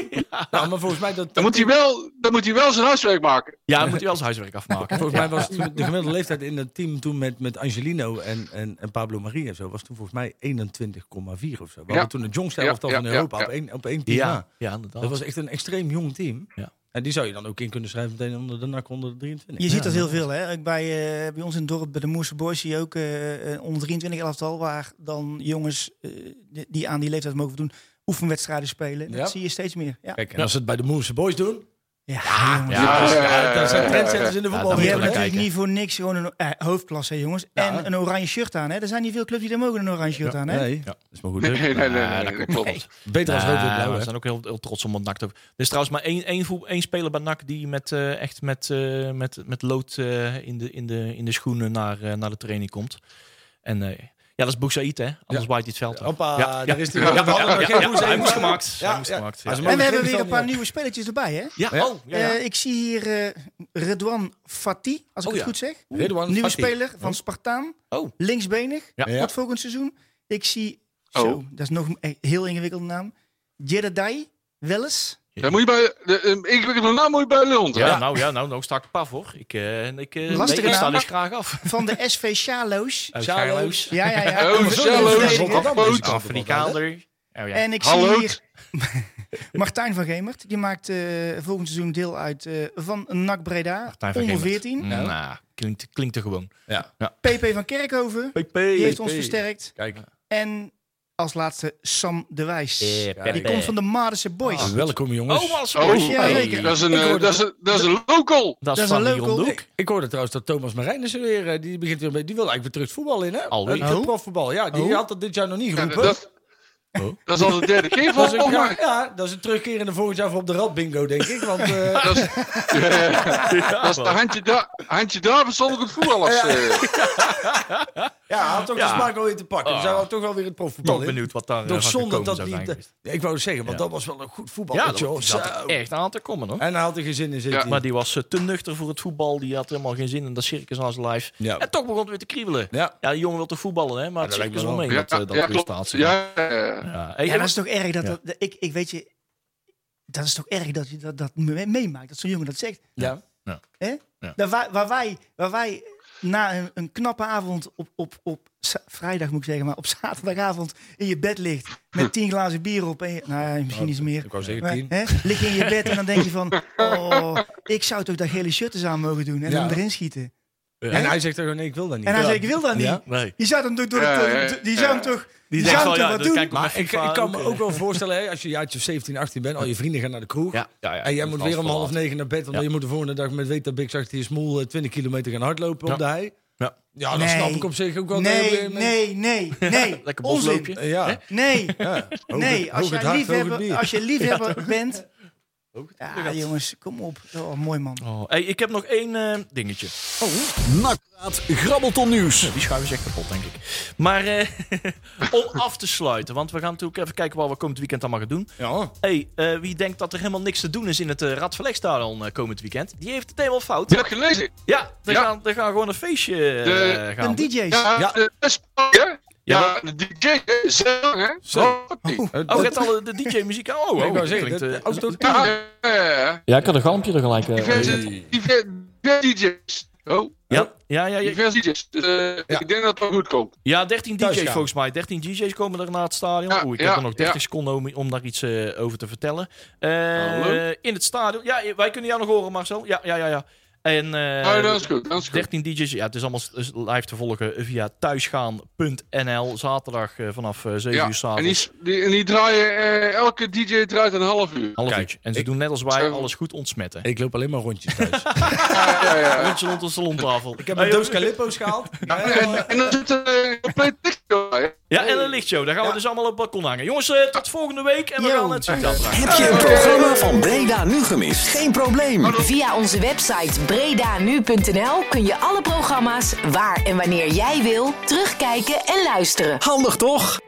Speaker 3: Nou, maar volgens mij, dat,
Speaker 6: Dan moet hij wel, dan moet hij wel zijn huiswerk maken.
Speaker 2: Ja, dan moet je wel zijn huiswerk afmaken.
Speaker 3: volgens mij was toen de gemiddelde leeftijd in het team toen met, met Angelino en, en, en Pablo Maria en zo, was toen volgens mij 21,4 of zo. We hadden toen het jongste
Speaker 6: Ja,
Speaker 3: elftal van
Speaker 6: ja,
Speaker 3: Europa
Speaker 6: ja,
Speaker 3: op één, op één team.
Speaker 2: Ja,
Speaker 3: na.
Speaker 2: ja, inderdaad.
Speaker 3: Dat was echt een extreem jong team.
Speaker 2: Ja.
Speaker 3: En die zou je dan ook in kunnen schrijven meteen onder de NAC onder de 23.
Speaker 4: Je ziet dat heel veel, hè? Ook bij, eh, bij ons in het dorp, bij de Moerse Boys, zie je ook eh, een onder 23 elftal, waar dan jongens eh, die- die aan die leeftijd mogen doen, oefenwedstrijden spelen.
Speaker 3: Ja.
Speaker 4: Dat zie je steeds meer. Ja,
Speaker 3: Kijk, en als ze het bij de Moerse Boys doen,
Speaker 4: ja, jongens.
Speaker 2: Ja,
Speaker 3: dat, is-
Speaker 6: ja, ja,
Speaker 3: dat zijn
Speaker 6: ja,
Speaker 3: trendsetters in de
Speaker 2: ja.
Speaker 3: voetbal.
Speaker 2: Ja,
Speaker 4: Die
Speaker 2: moet je
Speaker 4: hebben
Speaker 2: wel
Speaker 4: natuurlijk
Speaker 2: kijken.
Speaker 4: niet voor niks gewoon een eh, hoofdklasse, hè, jongens.
Speaker 3: Ja.
Speaker 4: En een oranje shirt aan, hè? Er zijn niet veel clubs die daar mogen een oranje shirt aan, hè?
Speaker 3: Nee, dat is maar goed.
Speaker 6: Nee, nee, nee, nee,
Speaker 2: Ja,
Speaker 6: nee, dat klopt.
Speaker 3: Beter als rood en
Speaker 2: Ja,
Speaker 3: blauw,
Speaker 2: we
Speaker 3: hè?
Speaker 2: zijn ook heel, heel trots om wat NAC te hebben. Er is trouwens maar één, één, voet- één speler bij NAC die met, eh, echt met, eh, met, met lood eh, in, de, in, de, in de schoenen naar, eh, naar de training komt. En eh, ja, dat is Boeksaïd, hè? Anders waait hij het veld op.
Speaker 3: Hoppa,
Speaker 2: Ja,
Speaker 3: daar
Speaker 2: ja.
Speaker 3: is
Speaker 2: <laughs>
Speaker 3: die.
Speaker 2: Ja,
Speaker 3: We hadden
Speaker 2: ja,
Speaker 3: nog
Speaker 2: ja,
Speaker 3: geen
Speaker 2: ja,
Speaker 3: Boes
Speaker 2: hij moest
Speaker 3: even.
Speaker 2: gemaakt.
Speaker 3: Ja,
Speaker 2: Hij moest
Speaker 3: ja.
Speaker 2: gemaakt, ja.
Speaker 3: Maar ze
Speaker 2: En
Speaker 3: mogen
Speaker 4: En we hebben
Speaker 3: geen
Speaker 4: weer een
Speaker 3: stand
Speaker 4: paar
Speaker 3: meer.
Speaker 4: nieuwe spelletjes erbij, hè?
Speaker 2: Ja,
Speaker 3: Ja.
Speaker 2: oh, ja, ja.
Speaker 4: Eh, ik zie hier eh, Redouan Fatih, als ik
Speaker 3: Oh, ja.
Speaker 4: het goed zeg.
Speaker 3: Redouan
Speaker 4: Nieuwe
Speaker 3: Fatih.
Speaker 4: speler van Spartaan.
Speaker 2: Oh.
Speaker 4: Linksbenig.
Speaker 2: Ja.
Speaker 4: Tot volgend seizoen. Ik zie...
Speaker 6: Oh.
Speaker 4: Zo, dat is nog een e- heel ingewikkelde naam. Jededai Welles.
Speaker 6: Dan moet je bij, de, eh, een ingewikkelde naam moet je bij Lund.
Speaker 2: Ja, nou, ja, nou, nou sta ik paf, hoor. Ik, eh, ik, eh,
Speaker 4: Lastige
Speaker 2: nee, ik sta
Speaker 4: naam.
Speaker 2: dus graag af.
Speaker 4: Van de SV Sjaloos.
Speaker 2: Uit
Speaker 3: Sjaloos.
Speaker 2: Gaarloos.
Speaker 4: Ja, ja, ja.
Speaker 6: Oh,
Speaker 4: Een
Speaker 6: Sjaloos.
Speaker 4: verdediger.
Speaker 6: Rotterdam. Rotterdam.
Speaker 2: Afrikaander. Oh, ja.
Speaker 4: En ik
Speaker 6: Hallo.
Speaker 4: zie hier Martijn van Gemert. Die maakt eh, volgend seizoen deel uit eh, van NAC Breda.
Speaker 2: Martijn van
Speaker 4: onder
Speaker 2: Gemert.
Speaker 4: 14.
Speaker 2: Nou, klinkt, klinkt er gewoon.
Speaker 3: Ja.
Speaker 4: PP van Kerkhoven. Die heeft ons versterkt.
Speaker 3: Kijk,
Speaker 4: En als laatste Sam de Wijs.
Speaker 2: Eh,
Speaker 4: die
Speaker 2: Pepe.
Speaker 4: komt van de Maardense Boys.
Speaker 3: welkom jongens.
Speaker 2: Oh, was
Speaker 6: Oh,
Speaker 4: Ja, zeker.
Speaker 6: dat is een,
Speaker 4: Ik
Speaker 6: eh,
Speaker 4: hoorde
Speaker 6: dat is een, dat is een local.
Speaker 2: Dat
Speaker 4: is
Speaker 2: is van
Speaker 4: een
Speaker 2: die
Speaker 4: leuke
Speaker 2: Rondoek.
Speaker 3: ik, ik hoorde trouwens dat Thomas Marijnissen weer, eh, die begint weer mee. Die wil eigenlijk weer terug het voetbal in, hè?
Speaker 2: Alweer?
Speaker 3: Eh, het
Speaker 4: Oh.
Speaker 3: profvoetbal, ja. Die
Speaker 4: Oh.
Speaker 3: had dat dit jaar nog niet
Speaker 6: Ja,
Speaker 3: geroepen.
Speaker 6: dat, dat is al de derde
Speaker 4: <laughs>
Speaker 6: keer
Speaker 3: Dat is een,
Speaker 6: volgens
Speaker 3: ja,
Speaker 6: mij.
Speaker 3: ja, dat is een terugkerende volgend jaar voor op de rad bingo, denk ik. Want
Speaker 2: <laughs>
Speaker 3: eh,
Speaker 6: Dat is, dat is de handje, da, handje Davis zonder het voetballers. eh.
Speaker 3: ja, hij had toch
Speaker 2: Ja.
Speaker 3: de smaak wel weer te pakken. Dus hij had toch wel weer het profvoetbal
Speaker 2: Toch
Speaker 3: in.
Speaker 2: benieuwd wat daar eh,
Speaker 3: Toch
Speaker 2: van
Speaker 3: zonde
Speaker 2: gekomen
Speaker 3: dat
Speaker 2: zou
Speaker 3: die...
Speaker 2: zijn geweest.
Speaker 3: ik wou het zeggen, want
Speaker 2: Ja.
Speaker 3: dat was wel een goed voetbal.
Speaker 2: Ja,
Speaker 3: Ja,
Speaker 2: dat zat echt aan te komen hoor.
Speaker 3: En hij had er geen zin in zitten.
Speaker 2: Maar die was eh, te nuchter voor het voetbal. Die had helemaal geen zin in dat circus aan zijn lijf.
Speaker 3: Ja.
Speaker 2: En toch begon het weer te kriebelen.
Speaker 3: Ja.
Speaker 2: Ja, die jongen wil te voetballen, hè? maar het
Speaker 3: dat lijkt
Speaker 2: circus
Speaker 3: me
Speaker 2: wel mee.
Speaker 3: wel.
Speaker 2: dat, eh, dat
Speaker 6: ja, klopt.
Speaker 2: prestatie.
Speaker 6: Ja, ja.
Speaker 2: Ja. Hey,
Speaker 4: Ja,
Speaker 2: en-
Speaker 4: dat is toch erg dat,
Speaker 2: Ja.
Speaker 4: dat- dat- ik, ik weet je, dat is toch erg dat je dat, dat me- meemaakt, dat zo'n jongen dat zegt.
Speaker 3: Ja.
Speaker 4: Hè?
Speaker 2: Ja.
Speaker 4: Dat wij, waar, wij, waar wij na een, een knappe avond op, op, op za- vrijdag moet ik zeggen, maar op <laughs> zaterdagavond in je bed ligt
Speaker 3: <laughs>
Speaker 4: met tien glazen bier op en je, nou ja, misschien iets meer.
Speaker 3: Oh, Ik wou zeggen
Speaker 4: Maar,
Speaker 3: tien.
Speaker 4: hè, lig je in
Speaker 3: <laughs>
Speaker 4: je bed en dan denk je van, oh, ik zou toch dat gele shirt eens aan mogen doen en
Speaker 3: Ja.
Speaker 4: hem erin schieten.
Speaker 3: En hij zegt toch, nee, ik wil dat niet.
Speaker 4: En hij
Speaker 3: Ja.
Speaker 4: zei, ik wil dat niet.
Speaker 3: Ja.
Speaker 2: Nee.
Speaker 4: Je zou hem toch, door het,
Speaker 6: Ja, ja,
Speaker 4: eh, die
Speaker 6: ja.
Speaker 4: zou hem toch, die
Speaker 2: denkt
Speaker 4: zou hem
Speaker 2: wel,
Speaker 4: toch
Speaker 2: ja,
Speaker 4: wat
Speaker 2: dat
Speaker 4: doen.
Speaker 2: kijkt
Speaker 3: Maar
Speaker 2: Met
Speaker 3: ik,
Speaker 2: FIFA
Speaker 3: ik kan me
Speaker 2: ook,
Speaker 3: ook wel voorstellen, hè, als je een jaartje of 17, 18 bent, al je vrienden gaan naar de kroeg.
Speaker 2: Ja, ja, ja.
Speaker 3: En jij
Speaker 2: Dat
Speaker 3: moet
Speaker 2: is
Speaker 3: weer om
Speaker 2: wel
Speaker 3: half
Speaker 2: laat.
Speaker 3: negen naar bed, want
Speaker 2: Ja.
Speaker 3: je moet de volgende dag met weet dat Big zegt, die smoel eh, 20 kilometer gaan hardlopen
Speaker 2: Ja.
Speaker 3: op de hei. Ja, Ah, dat
Speaker 4: Nee.
Speaker 3: snap ik op zich ook wel.
Speaker 4: Nee,
Speaker 3: Nee,
Speaker 4: nee, nee,
Speaker 3: <laughs>
Speaker 4: nee.
Speaker 2: Lekker
Speaker 4: Onzin.
Speaker 2: bosloopje.
Speaker 3: Ja. <laughs>
Speaker 4: Nee,
Speaker 3: ja. Hoog het-
Speaker 4: nee. Als
Speaker 3: hoog het hart,
Speaker 4: jij
Speaker 3: hoog het
Speaker 4: liefhebber,
Speaker 3: bier. <laughs>
Speaker 4: als jij liefhebber bent...
Speaker 2: hoog
Speaker 4: Ja,
Speaker 2: het.
Speaker 4: jongens, kom op. Oh, mooi man.
Speaker 2: Oh, hey, ik heb nog één eh, dingetje.
Speaker 1: Nakpraat grabbelton nieuws.
Speaker 2: Die schuiven is echt kapot, denk ik. Maar eh, <laughs> om af te sluiten, want we gaan natuurlijk even kijken wat we komend weekend allemaal gaan doen.
Speaker 3: Ja.
Speaker 2: hey, eh, wie denkt dat er helemaal niks te doen is in het eh Radverlegstadion eh, komend weekend, die heeft het helemaal fout.
Speaker 6: Je hebt gelezen.
Speaker 2: Ja, er,
Speaker 6: Ja.
Speaker 2: Gaan, er gaan gewoon een feestje eh,
Speaker 6: De-
Speaker 4: En
Speaker 2: gaan.
Speaker 4: DJ's.
Speaker 6: Ja, eh,
Speaker 3: Ja.
Speaker 6: de Spanje.
Speaker 2: Ja,
Speaker 6: Ja, de DJ zang, hè?
Speaker 3: Zo.
Speaker 6: Hoort die.
Speaker 2: Oh, je hebt alle de DJ-muziek. Oh, oh,
Speaker 3: Ik wou
Speaker 2: dat
Speaker 3: zeggen,
Speaker 2: klinkt,
Speaker 3: dat-
Speaker 2: eh,
Speaker 3: auto-
Speaker 2: <laughs>
Speaker 6: Ja, ja, ja.
Speaker 5: Ja, ik had een galmpje er gelijk. eh,
Speaker 6: Diverse,
Speaker 5: eh,
Speaker 6: diverse, diverse DJ's. Oh,
Speaker 2: ja, ja, ja, ja,
Speaker 6: diverse DJ's. Dus, eh,
Speaker 3: Ja.
Speaker 6: Ik denk dat het wel goed komt.
Speaker 2: ja, 13
Speaker 3: Thuis
Speaker 2: DJ's
Speaker 3: gaan.
Speaker 2: volgens mij. 13 DJ's komen er naar het stadion.
Speaker 6: Ja,
Speaker 2: Oeh, ik
Speaker 6: ja,
Speaker 2: heb er nog 30
Speaker 6: ja.
Speaker 2: seconden om, om daar iets eh, over te vertellen. Eh,
Speaker 6: Hallo?
Speaker 2: in het stadion. Ja, wij kunnen jou nog horen, Marcel. Ja, ja, ja. ja. En, eh,
Speaker 6: oh, dat is goed, dat is goed.
Speaker 2: 13 DJ's. Ja, het is allemaal s- s- live te volgen via thuisgaan.nl. Zaterdag eh, vanaf eh, 7
Speaker 6: Ja,
Speaker 2: uur
Speaker 6: en die,
Speaker 2: s'avonds.
Speaker 6: s- die, en die draaien, eh, elke DJ draait een half uur.
Speaker 2: Half
Speaker 3: Kijk,
Speaker 2: uurtje. En ze
Speaker 3: ik-
Speaker 2: doen net als wij
Speaker 6: Zo.
Speaker 2: alles goed ontsmetten.
Speaker 3: Ik loop alleen maar rondjes thuis.
Speaker 6: Ja, ja, ja.
Speaker 2: Rondje rond onze lontafel. Ik
Speaker 3: heb een doos Calippo's gehaald.
Speaker 6: En, en dan zit er eh, een compleet lichtje bij.
Speaker 2: Ja, en een lichtshow. Daar gaan we dus allemaal op het balkon hangen. Jongens, eh, tot volgende week. En we
Speaker 4: Yo.
Speaker 2: gaan het zichtveld vragen.
Speaker 1: Heb je een programma van Breda nu gemist? Geen probleem.
Speaker 7: Via onze website bredanu.nl kun je alle programma's waar en wanneer jij wil terugkijken en luisteren.
Speaker 1: Handig toch?